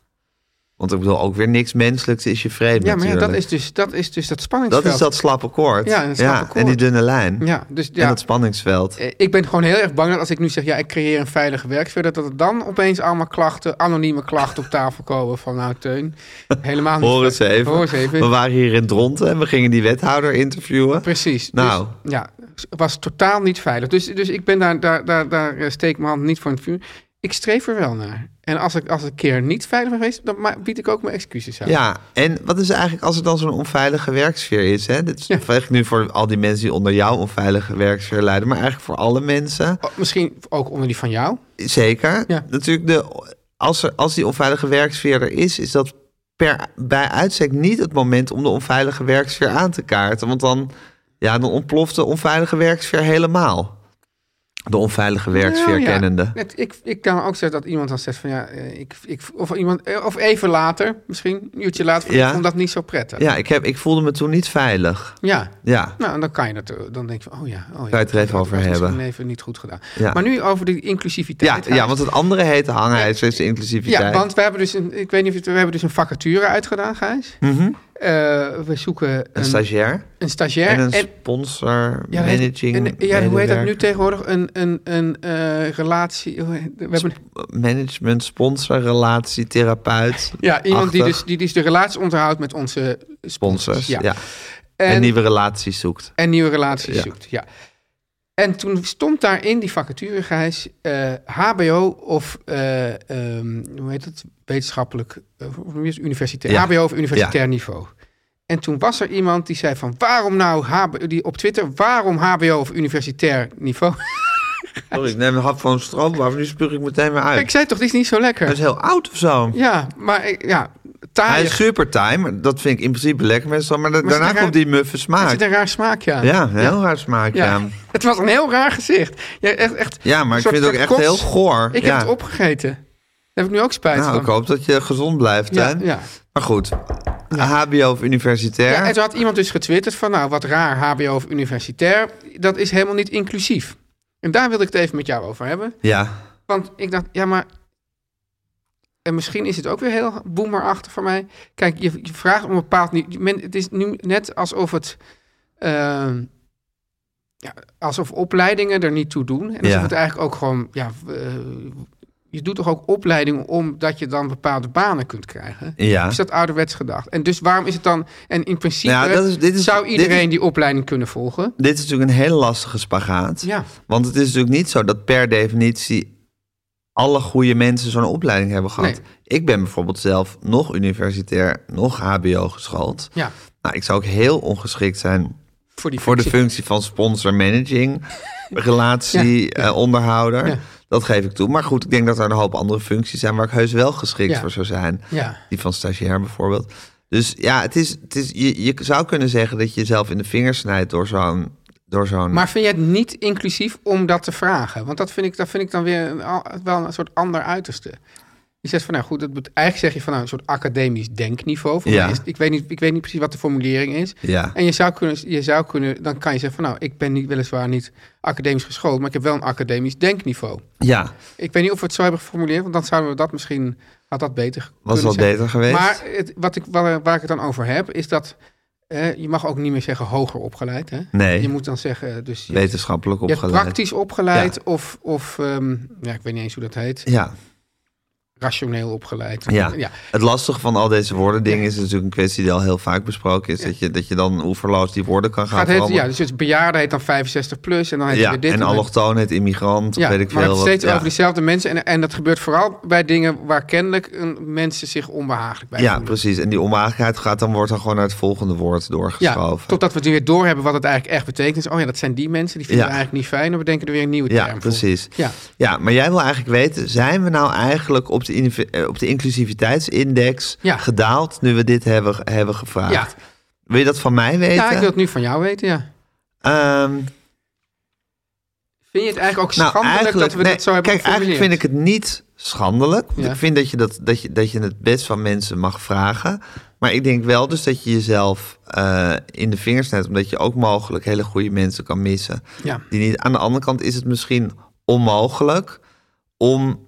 A: Want ik bedoel, ook weer niks menselijks is je vreemd
B: Ja, maar ja, dat,
A: natuurlijk.
B: is dus, dat is dus dat
A: dat
B: spanningsveld.
A: is dat slappe koord.
B: Ja, dat slappe
A: En die
B: koord.
A: dunne lijn.
B: Ja, dus
A: En
B: ja.
A: dat spanningsveld.
B: Eh, Ik ben gewoon heel erg bang dat als ik nu zeg, ja, ik creëer een veilige werksfeer, dat er dan opeens allemaal klachten, anonieme klachten op tafel komen van, nou, Teun, helemaal niet.
A: Hoor eens even.
B: Hoor eens
A: We
B: even.
A: waren hier in Dronten en we gingen die wethouder interviewen.
B: Precies.
A: Nou.
B: Dus, ja, was totaal niet veilig. Dus, dus ik ben daar, daar, daar, daar eh, steek mijn hand niet voor in het vuur. Ik streef er wel naar. En als ik als ik een keer niet veilig ben geweest, dan ma- bied ik ook mijn excuses aan.
A: Ja, en wat is eigenlijk als er dan zo'n onveilige werksfeer is? Hè? Dit is
B: Ja.
A: echt nu voor al die mensen die onder jouw onveilige werksfeer lijden, maar eigenlijk voor alle mensen.
B: Oh, Misschien ook onder die van jou.
A: Zeker.
B: Ja.
A: Natuurlijk, de, als, er, als die onveilige werksfeer er is, is dat per, bij uitstek niet het moment om de onveilige werksfeer aan te kaarten. Want dan, ja, dan ontploft de onveilige werksfeer helemaal. De onveilige werksfeer
B: Nou ja,
A: kennende.
B: net- ik, ik kan ook zeggen dat iemand dan zegt van ja, eh, ik, ik, of, iemand, eh, of even later, misschien een uurtje later,
A: Ja.
B: ik vond dat niet zo prettig.
A: Ja, ik, heb, ik voelde me toen niet veilig.
B: Ja.
A: Ja,
B: Nou, en dan kan je dat, eh, dan denk je van, oh ja, oh ja.
A: je het er even
B: dat
A: over
B: was misschien
A: hebben.
B: even niet goed gedaan.
A: Ja.
B: Maar nu over de
A: ja,
B: inclusiviteit.
A: ja, want het andere heette hangen, hij is steeds inclusiviteit.
B: Ja, want we hebben dus een, ik weet niet of je het- we hebben dus een vacature uitgedaan, Gijs. Eh, we zoeken
A: Mhm. Een
B: een,
A: stagiair
B: een stagiair
A: en een
B: en-
A: sponsor,
B: ja, dat heet-
A: managing,
B: en- ja, hoe heet dat nu
A: medewerker,
B: tegenwoordig? Een, een, een eh, relatie. hoe heet- We hebben
A: Management, sponsor, relatie, therapeut.
B: Ja, iemand die
A: achtig.
B: dus, die dus de relatie onderhoudt met onze sponsors.
A: sponsors, ja.
B: En,
A: En,
B: en, nieuwe...
A: nieuwe relaties zoekt.
B: relaties
A: Ja.
B: zoekt. Ja. En toen stond daar in die vacature, Gijs, eh, HBO of, eh, ehm, hoe heet dat, wetenschappelijk, eh, hoe noem je het? universitair,
A: Ja.
B: HBO of universitair niveau. En toen was er iemand die zei van, waarom nou, HBO, die op Twitter, waarom HBO of universitair niveau? <laughs>
A: Sorry, ik neem een hap van een stroopwafel, nu spuug ik meteen weer uit.
B: Ik zei toch, dit is niet zo
A: Hij is
B: lekker?
A: heel oud of zo.
B: Ja, maar ik- ja, taaier.
A: Hij is super time, dat vind ik in principe lekker meestal, maar, da-
B: Maar
A: daarna
B: zit er
A: komt
B: raar-
A: die muffe
B: Er
A: smaak.
B: zit een raar smaakje aan.
A: Ja, heel raar smaak, ja.
B: Ja. <laughs> Het was een heel raar gezicht. Ja, echt, echt,
A: Ja, maar ik
B: soort-
A: vind het ook
B: soort
A: echt
B: kots.
A: heel goor.
B: Ik
A: Ja.
B: heb het opgegeten. Daar heb ik nu ook spijt
A: Nou,
B: van.
A: ik hoop dat je gezond blijft,
B: Ja,
A: hè?
B: ja.
A: Maar goed, HBO of universitair.
B: Ja, en toen had iemand dus getwitterd van... nou, wat raar, hbo of universitair... dat is helemaal niet inclusief. En daar wilde ik het even met jou over hebben.
A: ja.
B: Want ik dacht, ja, maar... En misschien is het ook weer heel boomerachtig voor mij. Kijk, je, je vraagt om een bepaald... ni- Men, het is nu net alsof het... ehm, ja, alsof opleidingen er niet toe doen. En alsof
A: Ja.
B: het eigenlijk ook gewoon... Ja, eh, je doet toch ook opleidingen omdat je dan bepaalde banen kunt krijgen?
A: Ja.
B: Is dat ouderwets gedacht? En dus waarom is het dan... En in principe
A: Nou ja, dat is- dit is-
B: zou
A: dit
B: iedereen
A: is-
B: die opleiding kunnen volgen.
A: Dit is natuurlijk een hele lastige spagaat.
B: Ja.
A: Want het is natuurlijk niet zo dat per definitie alle goede mensen zo'n opleiding hebben gehad.
B: Nee.
A: Ik ben bijvoorbeeld zelf nog universitair, nog HBO geschoold.
B: Ja,
A: Nou, ik zou ook heel ongeschikt zijn
B: voor die
A: voor de
B: functie.
A: functie van sponsor
B: <laughs>
A: managing, relatie, eh, onderhouder.
B: Ja.
A: Dat geef ik toe. Maar goed, ik denk dat er een hoop andere functies zijn waar ik heus wel geschikt
B: Ja.
A: voor zou zijn.
B: Ja.
A: Die van stagiair bijvoorbeeld. Dus ja, het is, het is, je, je zou kunnen zeggen dat je jezelf in de vingers snijdt door zo'n... Door zo'n
B: Maar vind jij het niet inclusief om dat te vragen? Want dat vind ik, dat vind ik dan weer een, al- wel een soort ander uiterste. Je zegt van, nou goed, dat, moet- eigenlijk zeg je van nou, een soort academisch denkniveau. Voor
A: Ja.
B: mij is, ik, weet niet, ik weet niet precies wat de formulering is.
A: Ja.
B: En je zou, kunnen, je zou kunnen, dan kan je zeggen van nou, ik ben niet, weliswaar niet academisch geschoold, maar ik heb wel een academisch denkniveau.
A: ja,
B: Ik weet niet of we het zo hebben geformuleerd, want dan zouden we dat misschien, had dat beter Was
A: was wel beter geweest.
B: Maar het, wat ik, waar, waar ik het dan over heb, is dat eh, je mag ook niet meer zeggen hoger opgeleid. Hè?
A: Nee.
B: Je moet dan zeggen, dus je-
A: Wetenschappelijk
B: je hebt
A: opgeleid.
B: praktisch opgeleid of, of ehm, ja, ik weet niet eens hoe dat heet,
A: Ja,
B: rationeel opgeleid.
A: ja.
B: ja.
A: het lastige van al deze woordendingen is natuurlijk een kwestie die al heel vaak besproken is. Dat, je, dat je dan oeverloos die woorden kan gaan
B: Gaat het, ja,
A: veranderen.
B: dus het bejaarde heet dan 65 plus en dan heet
A: Ja,
B: het weer dit.
A: en
B: dan-
A: allochtoon, het immigrant, of
B: ja,
A: weet ik
B: maar
A: veel.
B: het
A: wat,
B: steeds
A: ja.
B: over dezelfde mensen. En, en dat gebeurt vooral bij dingen waar kennelijk een- mensen zich onbehagelijk bij
A: Ja,
B: voelen.
A: precies. En die onmaagheid gaat dan, wordt dan gewoon naar het volgende woord
B: Ja,
A: doorgeschoven.
B: totdat we het weer doorhebben wat het eigenlijk echt betekent. Dus, oh ja, dat zijn die mensen, die vinden
A: Ja.
B: we eigenlijk niet fijn. En we denken er weer een nieuwe
A: Ja,
B: term voor.
A: precies.
B: Ja.
A: ja, maar jij wil eigenlijk weten, zijn we nou eigenlijk op de, inv- eh, op de inclusiviteitsindex
B: Ja.
A: gedaald nu we dit hebben, hebben gevraagd?
B: Ja.
A: Wil je dat van mij weten?
B: Ja, ik wil het nu van jou weten, ja.
A: Ehm,
B: Vind je het eigenlijk ook schandelijk dat we
A: nee,
B: dat zo hebben
A: Kijk, Nou, eigenlijk vind ik het niet schandelijk. Want
B: Ja.
A: Ik vind dat je, dat, dat, je, dat je het best van mensen mag vragen. Maar ik denk wel dus dat je jezelf eh, in de vingers snijdt. Omdat je ook mogelijk hele goede mensen kan missen.
B: Ja.
A: Die niet, aan de andere kant is het misschien onmogelijk om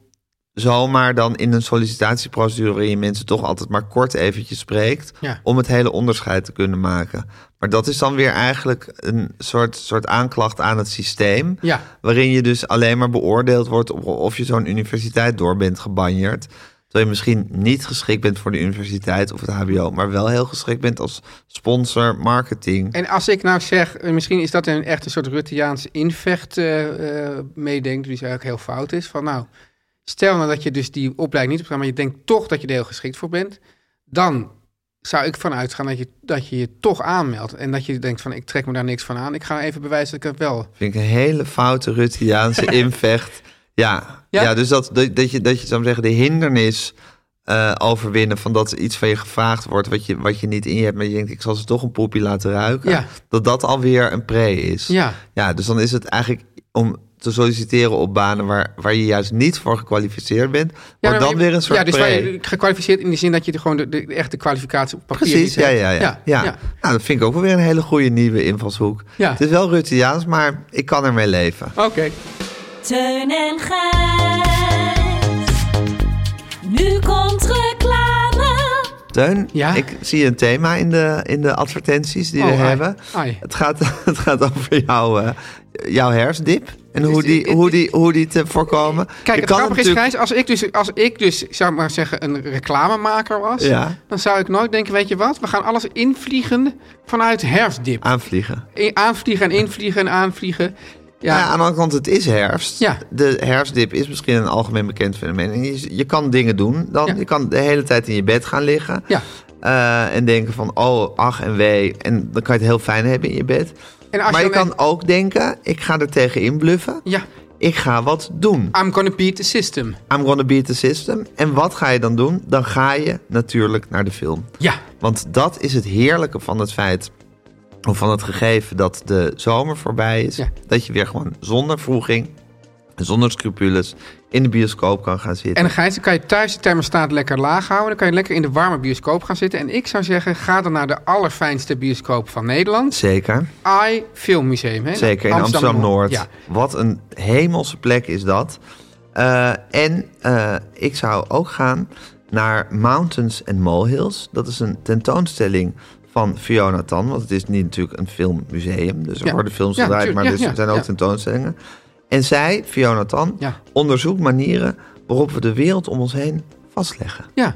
A: zomaar dan in een sollicitatieprocedure... waarin je mensen toch altijd maar kort eventjes spreekt...
B: Ja.
A: om het hele onderscheid te kunnen maken. Maar dat is dan weer eigenlijk een soort, soort aanklacht aan het systeem...
B: Ja.
A: waarin je dus alleen maar beoordeeld wordt... op of je zo'n universiteit door bent gebanjerd... terwijl je misschien niet geschikt bent voor de universiteit of het hbo... maar wel heel geschikt bent als sponsor, marketing...
B: En als ik nou zeg, eh, misschien is dat een echt een soort Rutteaanse invecht eh, eh, meedenkt, die eigenlijk heel fout is. Van nou, stel nou dat je dus die opleiding niet hebt gedaan, maar je denkt toch dat je er heel geschikt voor bent, dan zou ik vanuit gaan dat je, dat je je toch aanmeldt. En dat je denkt van ik trek me daar niks van aan. Ik ga even bewijzen dat ik het wel.
A: Vind ik een hele foute
B: <laughs>
A: Ruttiaanse invecht. Ja,
B: Ja?
A: ja? dus dat, dat, dat je, dat je zou zeggen, de hindernis eh, overwinnen van dat iets van je gevraagd wordt wat je, wat je niet in je hebt, maar je denkt, ik zal ze toch een poepie laten ruiken.
B: Ja.
A: Dat dat alweer een pre is.
B: Ja.
A: ja, dus dan is het eigenlijk om te solliciteren op banen waar, waar je juist niet voor gekwalificeerd bent, maar,
B: maar
A: dan
B: je-
A: weer een soort
B: Ja, dus
A: pre.
B: waar je gekwalificeerd in de zin dat je de, gewoon de, de, echt de kwalificatie op papier
A: Precies,
B: niet
A: ja,
B: hebt.
A: ja, ja, ja. Nou, dat vind ik ook wel weer een hele goede nieuwe invalshoek.
B: Ja.
A: Het is wel Ruttiaans, maar ik kan ermee leven.
B: Oké.
D: Teun en Gijs. Nu komt reclame.
A: Teun,
B: Ja?
A: ik zie een thema in de, in de advertenties die
B: Oh,
A: we
B: ai,
A: hebben.
B: ai.
A: Het, gaat, <laughs> het gaat over jouw, eh, jouw herfstdip en hoe
B: Dus
A: die,
B: ik- ik-
A: hoe, die, hoe die te voorkomen.
B: Kijk,
A: Je
B: het
A: kan
B: grappige is,
A: natuurlijk-
B: Gijs, als ik, dus, als ik dus, zou ik maar zeggen, een reclamemaker was,
A: Ja.
B: dan zou ik nooit denken, weet je wat, we gaan alles invliegen vanuit herfstdip.
A: Aanvliegen. Nou
B: I- Aanvliegen en invliegen en aanvliegen.
A: Ja.
B: Ja,
A: aan de andere kant, het is herfst.
B: Ja.
A: De herfstdip is misschien een algemeen bekend fenomeen. En je, je kan dingen doen. Dan,
B: Ja.
A: Je kan de hele tijd in je bed gaan liggen.
B: Ja.
A: Eh, en denken van, oh, ach en wee. En dan kan je het heel fijn hebben in je bed.
B: En als
A: maar
B: je
A: je,
B: dan-
A: kan ook denken, ik ga er tegenin bluffen.
B: ja.
A: Ik ga wat doen.
B: I'm gonna beat the system.
A: I'm gonna beat the system. En wat ga je dan doen? Dan ga je natuurlijk naar de film.
B: Ja,
A: Want dat is het heerlijke van het feit, of van het gegeven dat de zomer voorbij is.
B: Ja.
A: Dat je weer gewoon zonder vroeging, zonder scrupules in de bioscoop kan gaan zitten.
B: en Gijs, dan kan je thuis de thermostaat lekker laag houden, dan kan je lekker in de warme bioscoop gaan zitten. En ik zou zeggen, ga dan naar de allerfijnste bioscoop van Nederland,
A: Zeker,
B: AI Filmmuseum. Hè?
A: zeker in Amsterdam-Noord.
B: Ja.
A: Wat een hemelse plek is dat. Eh, en eh, ik zou ook gaan naar Mountains and Molehills. Dat is een tentoonstelling van Fiona Tan. Want het is niet natuurlijk een filmmuseum. Dus er
B: Ja.
A: worden films
B: Ja,
A: gedraaid,
B: tuurlijk.
A: maar
B: Ja,
A: dus
B: ja,
A: er zijn ook
B: ja.
A: tentoonstellingen. En zij, Fiona Tan,
B: Ja.
A: onderzoekt manieren waarop we de wereld om ons heen vastleggen.
B: ja,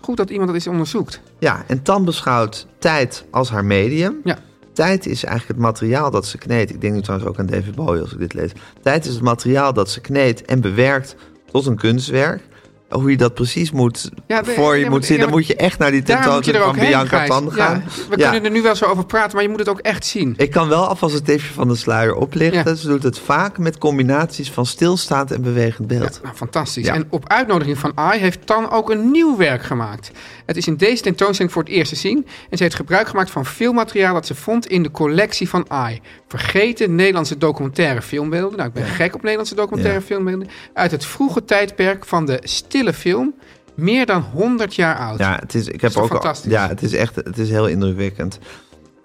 B: goed dat iemand dat eens onderzoekt.
A: Ja, en Tan beschouwt tijd als haar medium.
B: Ja.
A: Tijd is eigenlijk het materiaal dat ze kneedt. Ik denk nu trouwens ook aan David Bowie als ik dit lees. Tijd is het materiaal dat ze kneedt en bewerkt tot een kunstwerk. Hoe je dat precies moet
B: Ja, de-
A: voor je
B: ja,
A: moet
B: maar-
A: zien,
B: ja,
A: dan
B: maar-
A: moet je echt naar die
B: Daar moet je er
A: tentoonstelling
B: ook
A: van
B: heen,
A: Bianca
B: Gijs.
A: Tan
B: Ja,
A: gaan.
B: we
A: Ja.
B: kunnen er nu wel zo over praten, maar je moet het ook echt zien.
A: Ik kan wel alvast een tipje van de sluier oplichten.
B: Ja.
A: Ze doet het vaak met combinaties van stilstaand en bewegend
B: Ja,
A: beeld.
B: nou, fantastisch.
A: Ja.
B: En op uitnodiging van AI heeft Tan ook een nieuw werk gemaakt. Het is in deze tentoonstelling voor het eerst te zien. En ze heeft gebruik gemaakt van veel materiaal dat ze vond in de collectie van AI. Vergeten Nederlandse documentaire filmbeelden. Nou, ik ben gek op Nederlandse documentaire
A: Ja.
B: filmbeelden. Uit het vroege tijdperk van de stille film. Meer dan 100 jaar oud.
A: Ja, het is, ik heb
B: toch
A: ook al-
B: fantastisch?
A: ja, het is echt het is heel indrukwekkend.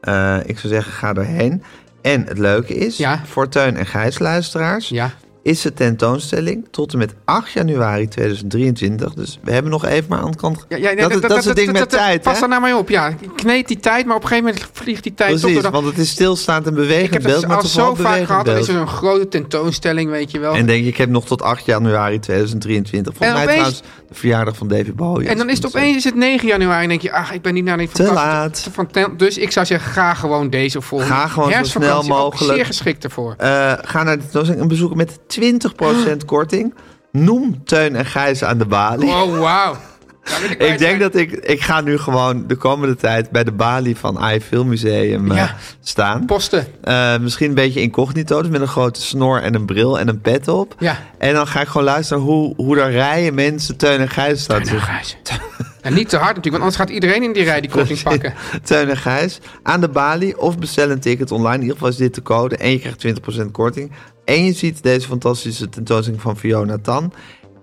A: Eh, ik zou zeggen, ga erheen. En het leuke is,
B: Ja.
A: voor Teun en Gijs luisteraars,
B: Ja.
A: is de tentoonstelling tot en met 8 januari 2023. Dus we hebben nog even maar aan de kant.
B: Ja, ja, nee,
A: dat, is- dat is het ding met
B: dat-
A: tijd.
B: Pas
A: hè?
B: daar nou mee op, ja. Kneed die tijd, maar op een gegeven moment vliegt die tijd tot
A: Precies,
B: door de-
A: want het is stilstaand en bewegend
B: Ik heb
A: beeld.
B: dat
A: maar
B: al
A: toch wel
B: zo vaak
A: bewegend
B: gehad. Dan is er
A: beeld.
B: een grote tentoonstelling, weet je wel.
A: En denk je, ik heb nog tot 8 januari 2023. Volgens
B: En
A: mij
B: opeens-
A: trouwens de verjaardag van David Bowie. Dus-
B: En dan is het opeens is het 9 januari en denk je, ach, ik ben niet naar die
A: Te
B: fantastische-
A: laat.
B: van tel- Dus ik zou zeggen, ga gewoon deze of volgende.
A: Ga gewoon zo
B: Herfstvakantie
A: snel
B: ook
A: mogelijk.
B: Zeer
A: <laughs>
B: geschikt ervoor.
A: Eh, ga naar de tentoonstelling en bezoek met
B: <gasps>
A: 20% korting. Noem Teun en Gijs aan de balie.
B: Oh, wauw. Daar wil
A: <laughs>
B: bij
A: Ik denk
B: zijn.
A: dat ik... Ik ga nu gewoon de komende tijd bij de balie van AI Filmmuseum eh,
B: Ja.
A: staan.
B: Posten.
A: Eh, misschien een beetje incognito, dus met een grote snor en een bril en een pet op.
B: Ja.
A: En dan ga ik gewoon luisteren hoe, hoe daar rijen mensen Teun en Gijs Dus staan.
B: Nou, Gijs. <laughs> En niet te hard natuurlijk, want anders gaat iedereen in die rij die
A: <laughs>
B: korting pakken.
A: Teun en Gijs. Aan de balie of bestel een ticket online. In ieder geval is dit de code. En je krijgt 20% korting. En je ziet deze fantastische tentoonstelling van Fiona Tan.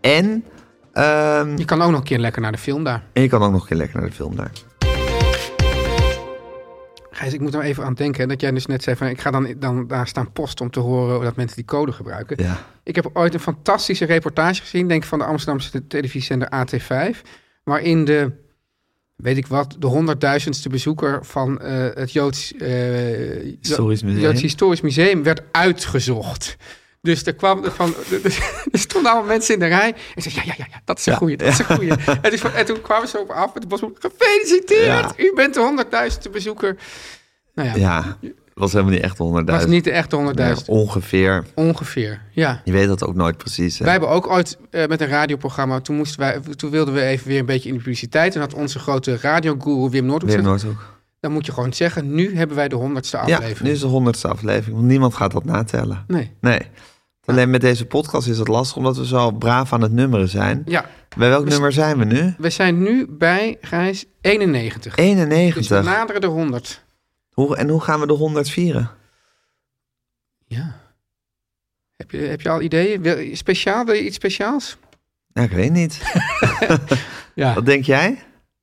A: En, ehm,
B: Je kan ook nog een keer lekker naar de film daar.
A: en je kan ook nog een keer lekker naar de film daar.
B: Gijs, ik moet er even aan denken hè, dat jij dus net zei van ik ga dan, dan daar staan post om te horen dat mensen die code gebruiken.
A: Ja.
B: Ik heb ooit een fantastische reportage gezien, denk ik, van de Amsterdamse televisiezender AT5, waarin de, weet ik wat, de honderdduizendste bezoeker van eh, het Joods, eh, Jo-
A: Historisch Museum.
B: Joods Historisch Museum werd uitgezocht. Dus er, kwam er, van, er, er stonden allemaal mensen in de rij. En zeiden, ja, ja, ja, ja, dat is een
A: Ja.
B: goeie, dat is een
A: <laughs>
B: goeie. En, dus, en toen kwamen ze op af. En toen was gefeliciteerd,
A: Ja.
B: u bent de honderdduizendste bezoeker. Nou ja,
A: Ja, was helemaal niet echt 100.000.
B: was niet de echte
A: Ja,
B: honderdduizend.
A: ongeveer.
B: Ongeveer, ja.
A: Je weet dat ook nooit precies. hè?
B: Wij hebben ook ooit eh, met een radioprogramma, toen, moesten wij, toen wilden we even weer een beetje in de publiciteit. En had onze grote radiogoeroe Wim Noordhoek
A: Weer
B: gezegd,
A: nooit ook.
B: dan moet je gewoon zeggen, nu hebben wij de honderdste aflevering.
A: Ja, dus- nu is de honderdste aflevering. Want niemand gaat dat natellen.
B: Nee.
A: Nee. Alleen met deze podcast is het lastig omdat we zo braaf aan het nummeren zijn.
B: Ja,
A: Bij welk
B: Dus-
A: nummer zijn we nu?
B: we zijn nu bij, Gijs, 91. Dus we
A: 91.
B: naderen de 100.
A: Hoe, en hoe gaan we de 100 vieren?
B: Ja. Heb je, heb je al ideeën? Wil, je- speciaal, wil je iets speciaals?
A: Nou, ik weet niet.
B: Ja.
A: Wat denk jij?
B: ja.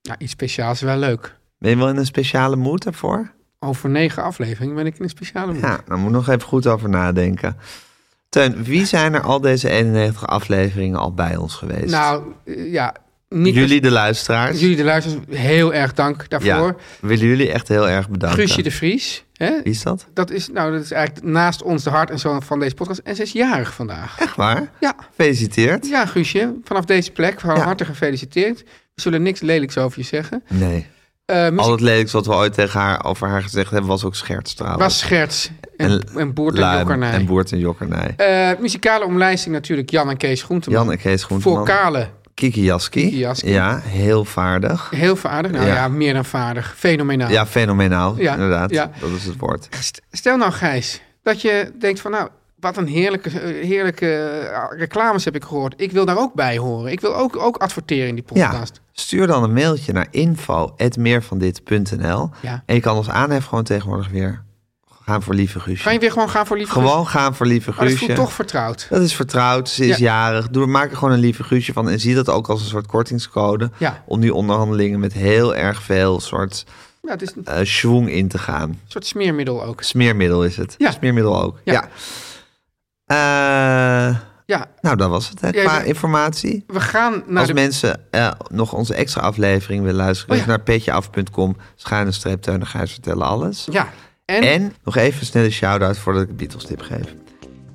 B: Nou, Iets speciaals is wel leuk.
A: Ben je wel in een speciale mood daarvoor?
B: Over negen afleveringen ben ik in een speciale moed.
A: Ja, daar moet ik nog even goed over nadenken. Teun, wie zijn er al deze 91 afleveringen al bij ons geweest?
B: Nou, eh, ja. Niet
A: jullie de luisteraars.
B: jullie de luisteraars, heel erg dank daarvoor.
A: Ja, willen jullie echt heel erg bedanken.
B: Guusje de Vries. Hè?
A: Wie is dat?
B: Dat is, nou, dat is eigenlijk naast ons de hart en zo van deze podcast. En ze is jarig vandaag.
A: Echt waar?
B: Ja,
A: Gefeliciteerd.
B: ja Guusje. Vanaf deze plek van
A: Ja.
B: harte gefeliciteerd. We zullen niks lelijks over je zeggen.
A: Nee.
B: Eh, muziek
A: Al het lelijks wat we ooit tegen haar, over haar gezegd hebben was ook scherts trouwens.
B: was scherts en,
A: nou, En
B: en boert en
A: Luim
B: jokkernij.
A: En boert en jokkernij.
B: Eh, muzikale omlijsting natuurlijk Jan en Kees Groenteman.
A: Jan en Kees Groenteman.
B: Vocale,
A: Kiki Jaski.
B: Kiki Jaski.
A: Ja, heel vaardig.
B: heel vaardig. Nou ja.
A: Ja.
B: meer dan vaardig. Fenomenaal.
A: Ja, fenomenaal.
B: Ja,
A: Inderdaad,
B: ja.
A: dat is het woord.
B: St- Stel nou, Gijs, dat je denkt van nou, wat een heerlijke, heerlijke eh, reclames heb ik gehoord. Ik wil daar ook bij horen. Ik wil ook, ook adverteren in die
A: Ja,
B: podcast.
A: stuur dan een mailtje naar info.meervandit.nl
B: Ja.
A: En je kan ons aanhef gewoon tegenwoordig weer gaan voor lieve Guusje.
B: Ga je weer gewoon gaan voor lieve Guus?
A: Gewoon gaan voor lieve
B: Maar Oh, dat voelt
A: Guusje.
B: toch vertrouwd.
A: Dat is vertrouwd, ze is
B: Ja.
A: jarig. Doe, maak er gewoon een lieve guusje van. En zie dat ook als een soort kortingscode.
B: Ja.
A: Om die onderhandelingen met heel erg veel soort
B: Ja, het is een
A: eh schwung in te gaan.
B: soort smeermiddel ook.
A: Smeermiddel is het.
B: Ja.
A: Smeermiddel ook.
B: Ja.
A: Ja. Eh,
B: Ja,
A: nou, dat was het. Hè,
B: Ja,
A: qua
B: ja.
A: informatie.
B: we gaan naar
A: Als
B: de...
A: mensen eh, nog onze extra aflevering willen luisteren,
B: Oh, ja.
A: naar petjeaf.com, schuine streep, Teun en Gijs vertellen alles.
B: Ja, en,
A: En nog even een snelle shout-out voordat ik de Beatles tip geef.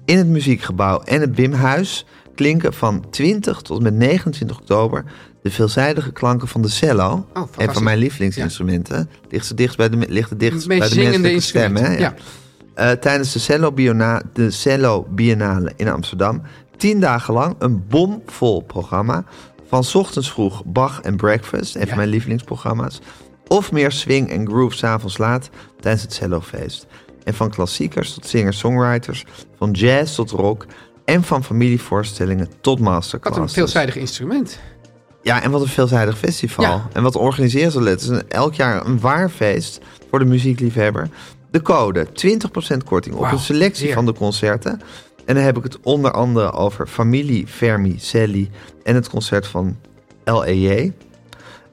A: In het muziekgebouw en het Bimhuis klinken van 20 tot en met 29 oktober de veelzijdige klanken van de cello.
B: Oh, fantastisch.
A: een van mijn lievelingsinstrumenten. Ligt ze dicht bij de, ligt het dichtst bij
B: meest
A: de
B: zingende
A: menselijke stem.
B: instrumenten.
A: Hè?
B: ja.
A: Eh, tijdens de cello, Biona- de cello Biennale in Amsterdam. Tien dagen lang een bomvol programma. Van 's ochtends vroeg Bach en Breakfast, een
B: Ja.
A: van mijn lievelingsprogramma's. Of meer swing en groove s'avonds laat tijdens het cellofeest. En van klassiekers tot singer-songwriters, van jazz tot rock... en van familievoorstellingen tot
B: Wat een
A: masterclasses.
B: veelzijdig instrument.
A: Ja, en wat een veelzijdig festival.
B: Ja.
A: En wat organiseren ze? Het is een- elk jaar een waar feest voor de muziekliefhebber. De code, 20% korting op
B: Wauw,
A: een selectie
B: zeer.
A: van de concerten. En dan heb ik het onder andere over Familie, Fermi, Sally en het concert van LEJ.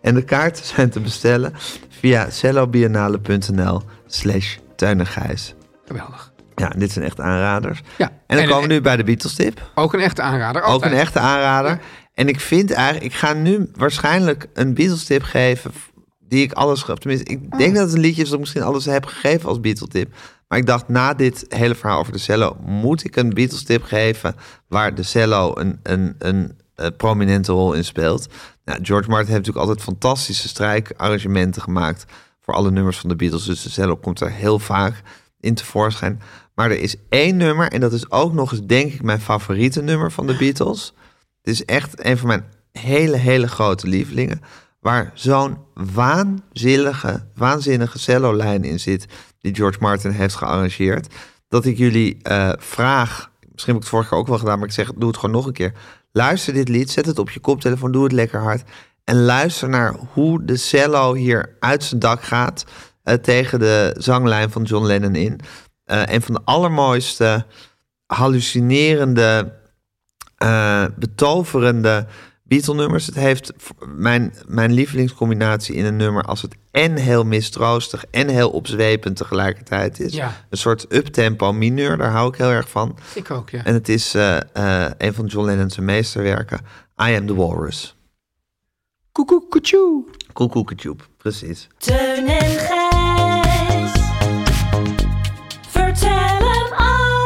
A: En de kaarten <laughs> zijn te bestellen via cellobiennale.nl slash tuinengijs.
B: Geweldig.
A: Ja, en dit zijn echt aanraders.
B: Ja.
A: En dan
B: En-
A: komen we nu bij de Beatles tip.
B: Ook een echte aanrader.
A: Ook
B: altijd.
A: een echte aanrader. En ik vind eigenlijk, ik ga nu waarschijnlijk een Beatles tip geven. f- Die ik alles gaf. Tenminste, ik
B: Oh.
A: denk dat het een liedje is dat ik misschien alles heb gegeven als Beatles tip. Maar ik dacht, na dit hele verhaal over de cello, moet ik een Beatles tip geven waar de cello een, een, een, eh, prominente rol in speelt. Nou, George Martin heeft natuurlijk altijd fantastische strijkarrangementen gemaakt voor alle nummers van de Beatles. Dus de cello komt er heel vaak in tevoorschijn. Maar er is één nummer, en dat is ook nog eens, denk ik, mijn favoriete nummer van de Beatles. Het is echt een van mijn hele, hele grote lievelingen. Waar zo'n waanzinnige, waanzinnige cellolijn in zit. Die George Martin heeft gearrangeerd. Dat ik jullie eh, vraag. Misschien heb ik het vorige keer ook wel gedaan, maar ik zeg, doe het gewoon nog een keer. Luister dit lied, zet het op je koptelefoon, doe het lekker hard. En luister naar hoe de cello hier uit zijn dak gaat eh, tegen de zanglijn van John Lennon in. Eh, een van de allermooiste, hallucinerende, eh, betoverende Beatle-nummers. Het heeft v- mijn, mijn lievelingscombinatie in een nummer als het en heel mistroostig en heel opzwepend tegelijkertijd is.
B: Ja.
A: Een soort uptempo mineur, daar hou ik heel erg van.
B: Ik ook, ja.
A: En het is eh, eh, een van John Lennon's meesterwerken, I Am The Walrus.
B: Koekoekoetjoe.
A: Koekoeketube, precies.
E: Teun en Gijs. Vertel hem alles.